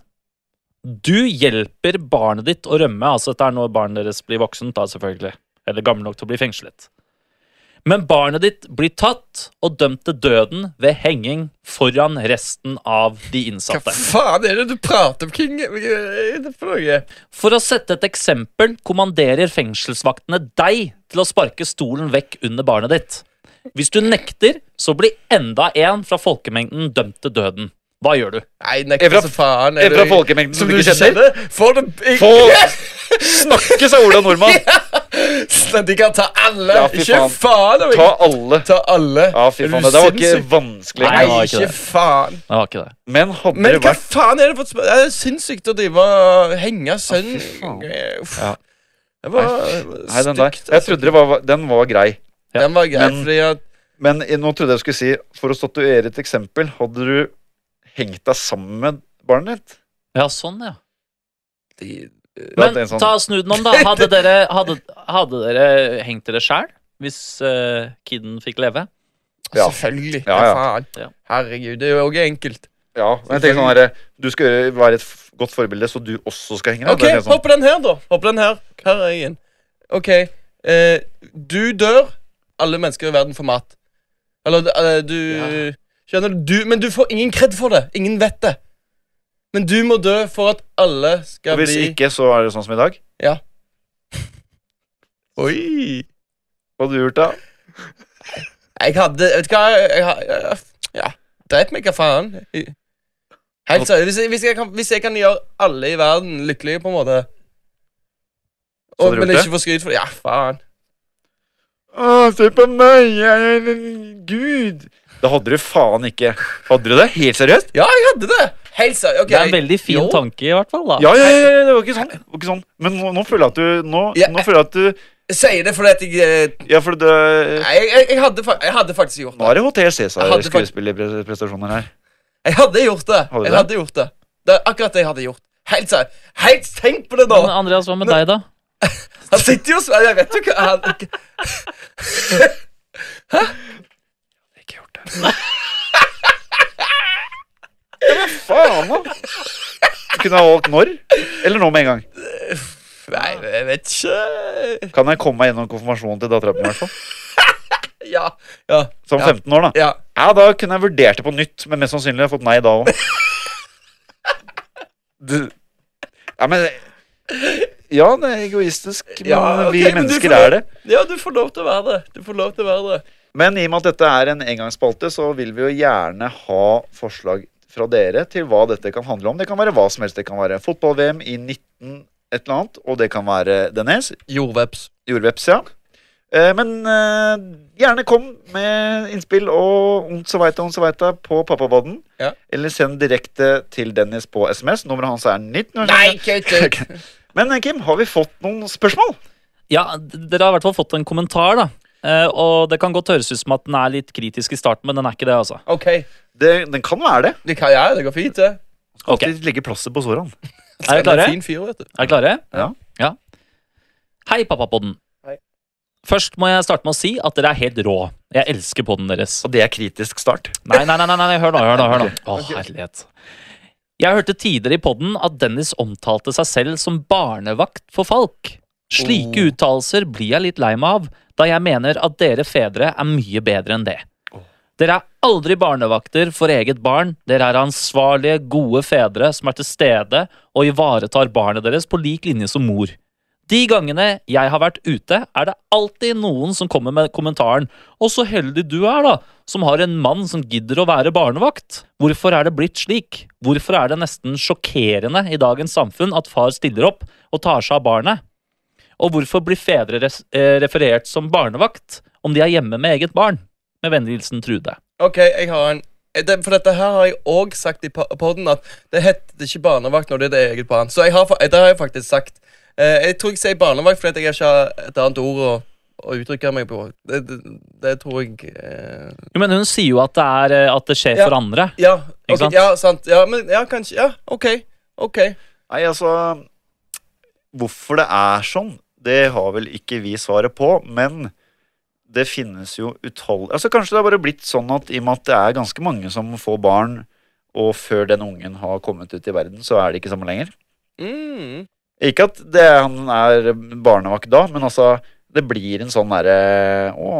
Speaker 3: Du hjelper barnet ditt å rømme. Altså, dette er når barnet deres blir voksent, da, selvfølgelig. Eller gammel nok til å bli fengslet. Men barnet ditt blir tatt og dømt til døden ved henging foran resten av de
Speaker 2: Hva
Speaker 3: innsatte.
Speaker 2: faen er det du prater om, King? Hva er det for noe?
Speaker 3: For å sette et eksempel kommanderer fengselsvaktene deg til å sparke stolen vekk under barnet ditt. Hvis du nekter, så blir enda en fra folkemengden dømt til døden. Hva gjør du?
Speaker 2: Nei, nekter
Speaker 1: Evra-
Speaker 2: så faen. er
Speaker 1: Evra
Speaker 2: du-
Speaker 1: folkemengden som
Speaker 2: Som
Speaker 1: du
Speaker 2: du
Speaker 1: ikke kjenner.
Speaker 2: kjenner? Får du
Speaker 1: Få snakke, sa Ola Nordmann.
Speaker 2: Nei, De kan ta alle.
Speaker 1: Ja, fy
Speaker 2: ikke
Speaker 1: faen.
Speaker 2: faen om
Speaker 1: Ta
Speaker 2: jeg
Speaker 1: alle.
Speaker 2: Ta alle.
Speaker 1: Ja, fy faen,
Speaker 2: Er du
Speaker 1: det der var ikke
Speaker 2: sinnssyk?
Speaker 1: vanskelig.
Speaker 3: Nei, det
Speaker 2: Nei,
Speaker 3: var ikke
Speaker 2: ikke
Speaker 3: det.
Speaker 2: faen.
Speaker 3: Det var ikke det.
Speaker 1: Men hadde
Speaker 2: Men
Speaker 1: det
Speaker 2: hva
Speaker 1: vært
Speaker 2: faen er det for et spørsmål? Det er sinnssykt å drive og henge sønn Uff.
Speaker 1: Ja.
Speaker 2: Det var
Speaker 1: Nei, den der.
Speaker 2: stygt. altså.
Speaker 1: Jeg trodde det var, den var grei.
Speaker 2: Den var grei,
Speaker 1: Men-
Speaker 2: fordi at
Speaker 1: Men i- nå trodde jeg skulle si, for å statuere et eksempel, hadde du hengt deg sammen med barnet ditt?
Speaker 3: Ja, sånn, ja.
Speaker 2: de-
Speaker 1: Ja,
Speaker 3: Men
Speaker 1: det er sånn.
Speaker 3: ta snu den om, da. Hadde dere, hadde, hadde dere hengt dere sjæl hvis eh, kiden fikk leve?
Speaker 1: Ja.
Speaker 2: Selvfølgelig.
Speaker 1: Ja,
Speaker 2: Ja,
Speaker 1: ja.
Speaker 2: faen.
Speaker 3: Ja.
Speaker 2: Herregud, det er jo også enkelt.
Speaker 1: Ja, men jeg tenker sånn herre Du skal gjøre- være et f- godt forbilde, så du også skal henge deg.
Speaker 2: OK,
Speaker 1: Det er sånn-
Speaker 2: hopp på den her, da. Hopp på den her. Her er jeg igjen. OK. Eh, du dør. Alle mennesker i verden får mat. Eller eh, du
Speaker 3: Ja.
Speaker 2: Skjønner du? du? Men du får ingen kred for det. Ingen vet det. Men du må dø for at alle skal
Speaker 1: Og hvis
Speaker 2: bli
Speaker 1: ikke, så er det sånn som i dag.
Speaker 2: Oi!
Speaker 1: Hva hadde du gjort da?
Speaker 2: Jeg hadde Vet du hva jeg, ha- jeg, Ja, drep meg, hva faen. Jeg- Helt seriøst. Hvis, jeg- hvis, jeg kan- hvis jeg kan gjøre alle i verden lykkelige, på en måte
Speaker 1: Så
Speaker 2: og,
Speaker 1: hadde du
Speaker 2: Men
Speaker 1: gjort
Speaker 2: ikke få skryt for det. Ja, faen.
Speaker 1: Å, se på meg, jeg er en gud. Det hadde du faen ikke. Hadde du det? Helt seriøst?
Speaker 2: Ja, jeg hadde det! Helt seriøst. ok.
Speaker 3: Det er en veldig fin
Speaker 2: Jo.
Speaker 3: tanke, i hvert fall. da.
Speaker 1: Ja, ja, ja, ja, det var ikke sånn. Det var ikke sånn. Men nå, nå føler jeg at du Nå,
Speaker 2: Ja,
Speaker 1: nå føler jeg at du
Speaker 2: Jeg sier det fordi at jeg eh,
Speaker 1: Ja, for det
Speaker 2: Nei, jeg, jeg, jeg, hadde, fa- jeg hadde faktisk gjort
Speaker 1: Nå
Speaker 2: det.
Speaker 1: er det Hotel
Speaker 2: Jeg hadde fakt-
Speaker 1: Cæsar-skuespillerprestasjoner her.
Speaker 2: Jeg hadde gjort det.
Speaker 1: Hadde du
Speaker 2: Jeg
Speaker 1: det?
Speaker 2: hadde gjort det. Det er akkurat det jeg hadde gjort. Helt seriøst. Helt tenk på det,
Speaker 3: Men
Speaker 2: da!
Speaker 3: Andreas, hva med
Speaker 2: Men-
Speaker 3: deg, da?
Speaker 2: Han sitter jo og svelger. Jeg vet jo hva han
Speaker 1: Ikke gjort det. Hva faen, da? Du kunne ha valgt når, eller nå med en gang.
Speaker 2: Nei, jeg vet ikke
Speaker 1: Kan jeg komme meg gjennom konfirmasjonen til dattera mi, i hvert fall?
Speaker 2: Ja. Ja.
Speaker 1: Som
Speaker 2: Ja.
Speaker 1: 15 år, da.
Speaker 2: ja.
Speaker 1: Ja, da kunne jeg vurdert det på nytt, men mest sannsynlig har jeg fått nei da òg. Ja, men Ja, det er egoistisk, men
Speaker 2: Ja, ok,
Speaker 1: vi
Speaker 2: men du
Speaker 1: mennesker
Speaker 2: får-
Speaker 1: er det.
Speaker 2: Ja, du får lov til å være det. Du får lov til å være det.
Speaker 1: Men i og med at dette er en engangsspalte, så vil vi jo gjerne ha forslag fra dere til hva dette kan handle om. Det kan være hva som helst. Det kan være fotball-VM i 19 et eller annet, og det kan være Dennis.
Speaker 2: Jordveps.
Speaker 1: Jordveps, ja. Eh, Men eh, gjerne kom med innspill og ondt så veita, ondt så veita på pappabodden.
Speaker 2: Ja.
Speaker 1: Eller send direkte til Dennis på SMS. Nummeret hans er 19.
Speaker 2: Nei, kutt ut!
Speaker 1: Men eh, Kim, har vi fått noen spørsmål?
Speaker 3: Ja, d- dere har i hvert fall fått en kommentar, da. Eh, og det kan godt høres ut som at den er litt kritisk i starten, men den er ikke det, altså.
Speaker 2: OK.
Speaker 1: Det, den kan være det.
Speaker 2: Det kan jeg. Det går fint, det.
Speaker 3: Ok,
Speaker 1: Alltid legge plasset på sårene.
Speaker 3: Er dere klare?
Speaker 2: En fin fyr, vet du.
Speaker 3: Er dere klare?
Speaker 1: Ja.
Speaker 3: Hei, pappapodden.
Speaker 2: Hei.
Speaker 3: Først må jeg starte med å si at dere er helt rå. Jeg elsker podden deres.
Speaker 1: Og det er kritisk start.
Speaker 3: Nei, nei, nei, nei, nei, hør nå, hør nå. hør nå. Å, herlighet. Jeg hørte tidligere i podden at Dennis omtalte seg selv som barnevakt for Falk. Slike
Speaker 2: Oh.
Speaker 3: uttalelser blir jeg litt lei meg av, da jeg mener at dere fedre er mye bedre enn det.
Speaker 2: Oh.
Speaker 3: Dere er aldri barnevakter for eget barn. Dere er ansvarlige, gode fedre som er til stede og ivaretar barnet deres på lik linje som mor. De gangene jeg har vært ute, er det alltid noen som kommer med kommentaren 'Å, så heldig du er, da, som har en mann som gidder å være barnevakt'. Hvorfor er det blitt slik? Hvorfor er det nesten sjokkerende i dagens samfunn at far stiller opp og tar seg av barnet? Og hvorfor blir fedre res eh, referert som barnevakt om de er hjemme med eget barn? Med vennlig hilsen Trude.
Speaker 2: Ok, jeg har en Eh, det, For dette her har jeg òg sagt i po- podden at det heter ikke barnevakt når det er det eget barn. Så jeg har, fa- eh, det har jeg faktisk sagt. Eh, jeg tror jeg sier barnevakt fordi at jeg ikke har et annet ord å, å uttrykke meg på. Det, det, det tror jeg eh,
Speaker 3: Jo, men hun sier jo at det, er, eh, at det skjer
Speaker 2: Ja.
Speaker 3: for andre.
Speaker 2: Ja,
Speaker 3: Ikke
Speaker 2: ok,
Speaker 3: sant?
Speaker 2: ja, sant. Ja, men ja, kanskje Ja, OK. OK.
Speaker 1: Nei, altså Hvorfor det er sånn, det har vel ikke vi svaret på, men det finnes jo uthold... Altså Kanskje det har bare blitt sånn at i og med at det er ganske mange som får barn, og før den ungen har kommet ut i verden, så er det ikke sammen lenger.
Speaker 2: Mm.
Speaker 1: Ikke at det, han er barnevakt da, men altså Det blir en sånn derre Å,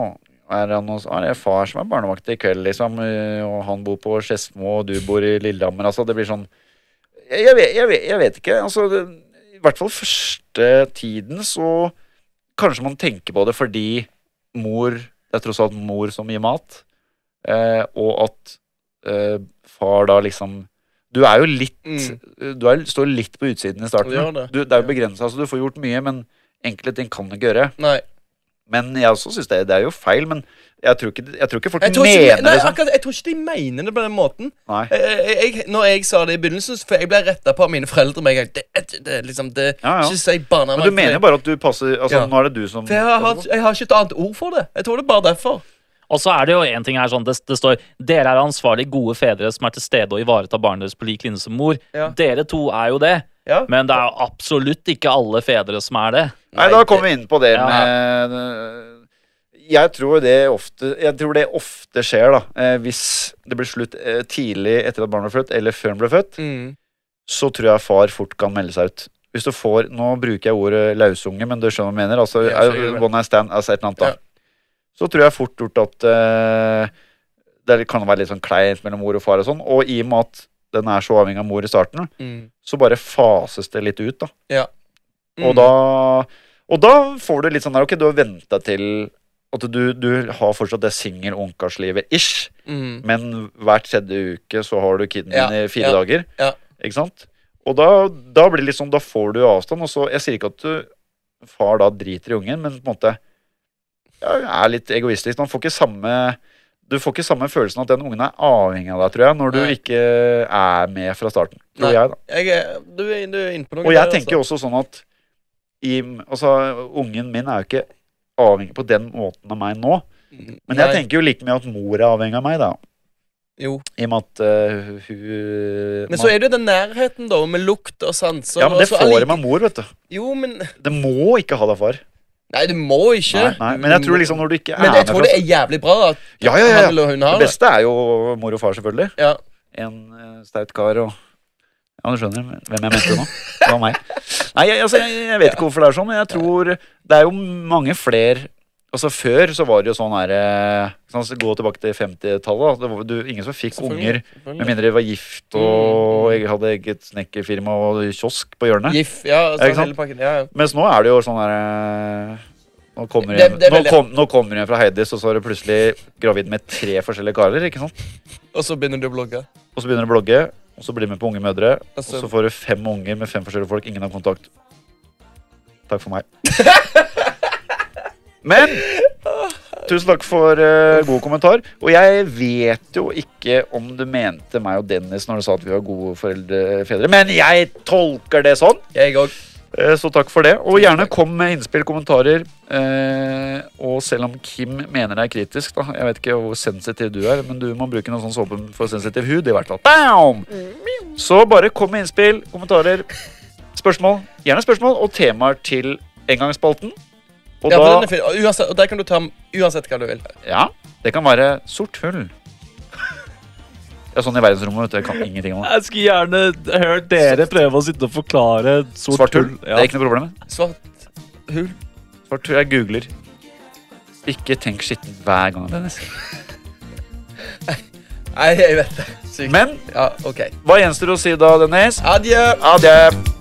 Speaker 1: er det, noe, er det far som er barnevakt i kveld, liksom? eh, Og han bor på Skedsmo, og du bor i Lillehammer. Altså, det blir sånn Jeg, jeg, vet, jeg, vet, jeg vet ikke. Altså, det, i hvert fall første tiden så Kanskje man tenker på det fordi mor Det er tross alt mor som gir mat, eh, og at eh, far da liksom Du er jo litt
Speaker 2: Mm.
Speaker 1: Du er, står litt på utsiden i starten.
Speaker 2: Du gjør det.
Speaker 1: Du, det er jo
Speaker 2: Ja.
Speaker 1: begrensa, så du får gjort mye, men enkle ting kan du ikke gjøre.
Speaker 2: Nei.
Speaker 1: Men jeg også synes det, det er jo feil, men jeg tror ikke, jeg tror ikke folk
Speaker 2: Jeg tror,
Speaker 1: mener
Speaker 2: ikke, nei,
Speaker 1: det sånn.
Speaker 2: akkurat, jeg tror ikke de mener det på den måten.
Speaker 1: Nei.
Speaker 2: Jeg, jeg, jeg- når jeg sa det i begynnelsen, så- for jeg ble retta på av mine foreldre med en gang. Det, det, det, liksom, det,
Speaker 1: Ja, ja.
Speaker 2: Ikke si
Speaker 1: Men
Speaker 2: barnevakt.
Speaker 1: du mener jo bare at du passer Altså,
Speaker 2: Ja.
Speaker 1: nå er det du som
Speaker 2: For jeg har, jeg har ikke et annet ord for det. Jeg tror det er bare derfor.
Speaker 3: Og så er det jo en ting her sånn, det, det står Dere er ansvarlige, gode fedre som er til stede og ivaretar barnet deres på lik linje som mor.
Speaker 2: Ja.
Speaker 3: Dere to er jo det,
Speaker 2: Ja.
Speaker 3: men det er jo absolutt ikke alle fedre som er det.
Speaker 1: Nei, da kommer vi inn på det
Speaker 3: Ja.
Speaker 1: med eh, Jeg tror det ofte Jeg tror det ofte skjer, da. Eh, hvis det blir slutt eh, tidlig etter at barnet ble født, eller før han ble født,
Speaker 2: Mm.
Speaker 1: så tror jeg far fort kan melde seg ut. Hvis du får Nå bruker jeg ordet lausunge, men du skjønner hva jeg mener. Altså,
Speaker 2: Ja, jeg skjønner.
Speaker 1: eh, one night stand, altså et eller annet, da.
Speaker 2: Ja.
Speaker 1: Så tror jeg fort gjort at eh, det kan være litt sånn kleint mellom mor og far og sånn. Og i og med at den er så avhengig av mor i starten,
Speaker 2: Mm.
Speaker 1: så bare fases det litt ut, da.
Speaker 2: Mm.
Speaker 1: Og da, og da får du litt sånn der Ok, du har venta til at du, du har fortsatt det singel-ungkarslivet ish,
Speaker 2: mm.
Speaker 1: men hvert tredje uke så har du kiden
Speaker 2: Ja,
Speaker 1: din i fire
Speaker 2: ja,
Speaker 1: dager.
Speaker 2: ja.
Speaker 1: Ikke sant? Og da, da blir det litt sånn, da får du avstand. Og så, jeg sier ikke at du, far da driter i ungen, men på en måte ja, er litt egoistisk. Man får ikke samme du får ikke samme følelsen at den ungen er avhengig av deg, tror jeg, når du
Speaker 2: Nei.
Speaker 1: ikke er med fra starten. Tror
Speaker 2: Nei.
Speaker 1: jeg, da.
Speaker 2: Jeg er, du, er, du er inne på noe.
Speaker 1: Og jeg
Speaker 2: der,
Speaker 1: tenker jo også sånn at i, altså, Ungen min er jo ikke avhengig på den måten av meg nå.
Speaker 2: altså.
Speaker 1: Men jeg tenker jo like mye at mor er avhengig av meg, da.
Speaker 2: jo.
Speaker 1: I og med at eh, hun
Speaker 2: Men så er det jo den nærheten, da, med lukt og sanser.
Speaker 1: Ja, men det
Speaker 2: og så
Speaker 1: får
Speaker 2: alli-
Speaker 1: jeg av mor, vet du.
Speaker 2: Jo, men
Speaker 1: Det må ikke ha deg far.
Speaker 2: Nei, du må ikke.
Speaker 1: Nei, nei. Men jeg tror liksom når du ikke er
Speaker 2: Men jeg
Speaker 1: med
Speaker 2: tror det
Speaker 1: fra
Speaker 2: er jævlig bra at
Speaker 1: Ja, ja, ja.
Speaker 2: han eller hun
Speaker 1: Det
Speaker 2: har det.
Speaker 1: beste er jo mor og far, selvfølgelig.
Speaker 2: Ja.
Speaker 1: En eh, staut kar og Ja, du skjønner hvem jeg mente nå. Det var meg. Nei, jeg, altså, jeg, jeg vet ikke hvorfor det er sånn, men jeg tror det er jo mange flere Altså Før så var det jo sånn her eh, sånn, så Gå tilbake til 50-tallet. da. Det var- du- Ingen som fikk unger
Speaker 2: Selvfølgelig,
Speaker 1: med
Speaker 2: selvfølgelig.
Speaker 1: mindre de var gift og jeg hadde eget snekkerfirma og kiosk på hjørnet.
Speaker 2: Gif, Mm. ja,
Speaker 1: Ja,
Speaker 2: altså,
Speaker 1: ikke sant?
Speaker 2: hele pakken. Ja, ja.
Speaker 1: Mens nå er det jo sånn her eh, Nå kommer
Speaker 2: Det-
Speaker 1: hun
Speaker 2: det er
Speaker 1: nå
Speaker 2: veldig-
Speaker 1: kom, nå kommer hun fra Heidis, og så er du plutselig gravid med tre forskjellige karer. ikke sant?
Speaker 2: Og så begynner du å blogge.
Speaker 1: Og så begynner du å blogge, og så blir du med på Unge mødre. Og
Speaker 2: Altså-
Speaker 1: så får du fem unger med fem forskjellige folk. Ingen har kontakt. Takk for meg. Men tusen takk for eh, god kommentar. Og jeg vet jo ikke om du mente meg og Dennis når du sa at vi var gode foreldre, fedre, men jeg tolker det sånn.
Speaker 2: Jeg òg.
Speaker 1: Eh, Så takk for det. Og gjerne kom med innspill, kommentarer. Eh, og selv om Kim mener det er kritisk, da Jeg vet ikke hvor sensitiv du er, men du må bruke noe sånn såpe for sensitiv hud, i hvert fall. Bam! Så bare kom med innspill, kommentarer, spørsmål. Gjerne spørsmål og temaer til engangsspalten. Og
Speaker 2: Ja, for den
Speaker 1: da
Speaker 2: er fin. Og uansett, og der kan du ta med uansett hva du vil.
Speaker 1: Ja, det kan være sort hull. Ja, sånn i verdensrommet, vet du. Jeg kan ingenting om det.
Speaker 3: Jeg skulle gjerne hørt dere prøve å sitte og forklare sort,
Speaker 1: Svart hull, det er ikke noe problem.
Speaker 2: Svart hull.
Speaker 1: Svart hull. Jeg googler. Ikke tenk skitten hver gang. Dennis.
Speaker 2: Nei, jeg vet det. Sykt.
Speaker 1: Men
Speaker 2: Ja, OK.
Speaker 1: hva gjenstår å si da, Dennis?
Speaker 2: Adjø.
Speaker 1: Ha det!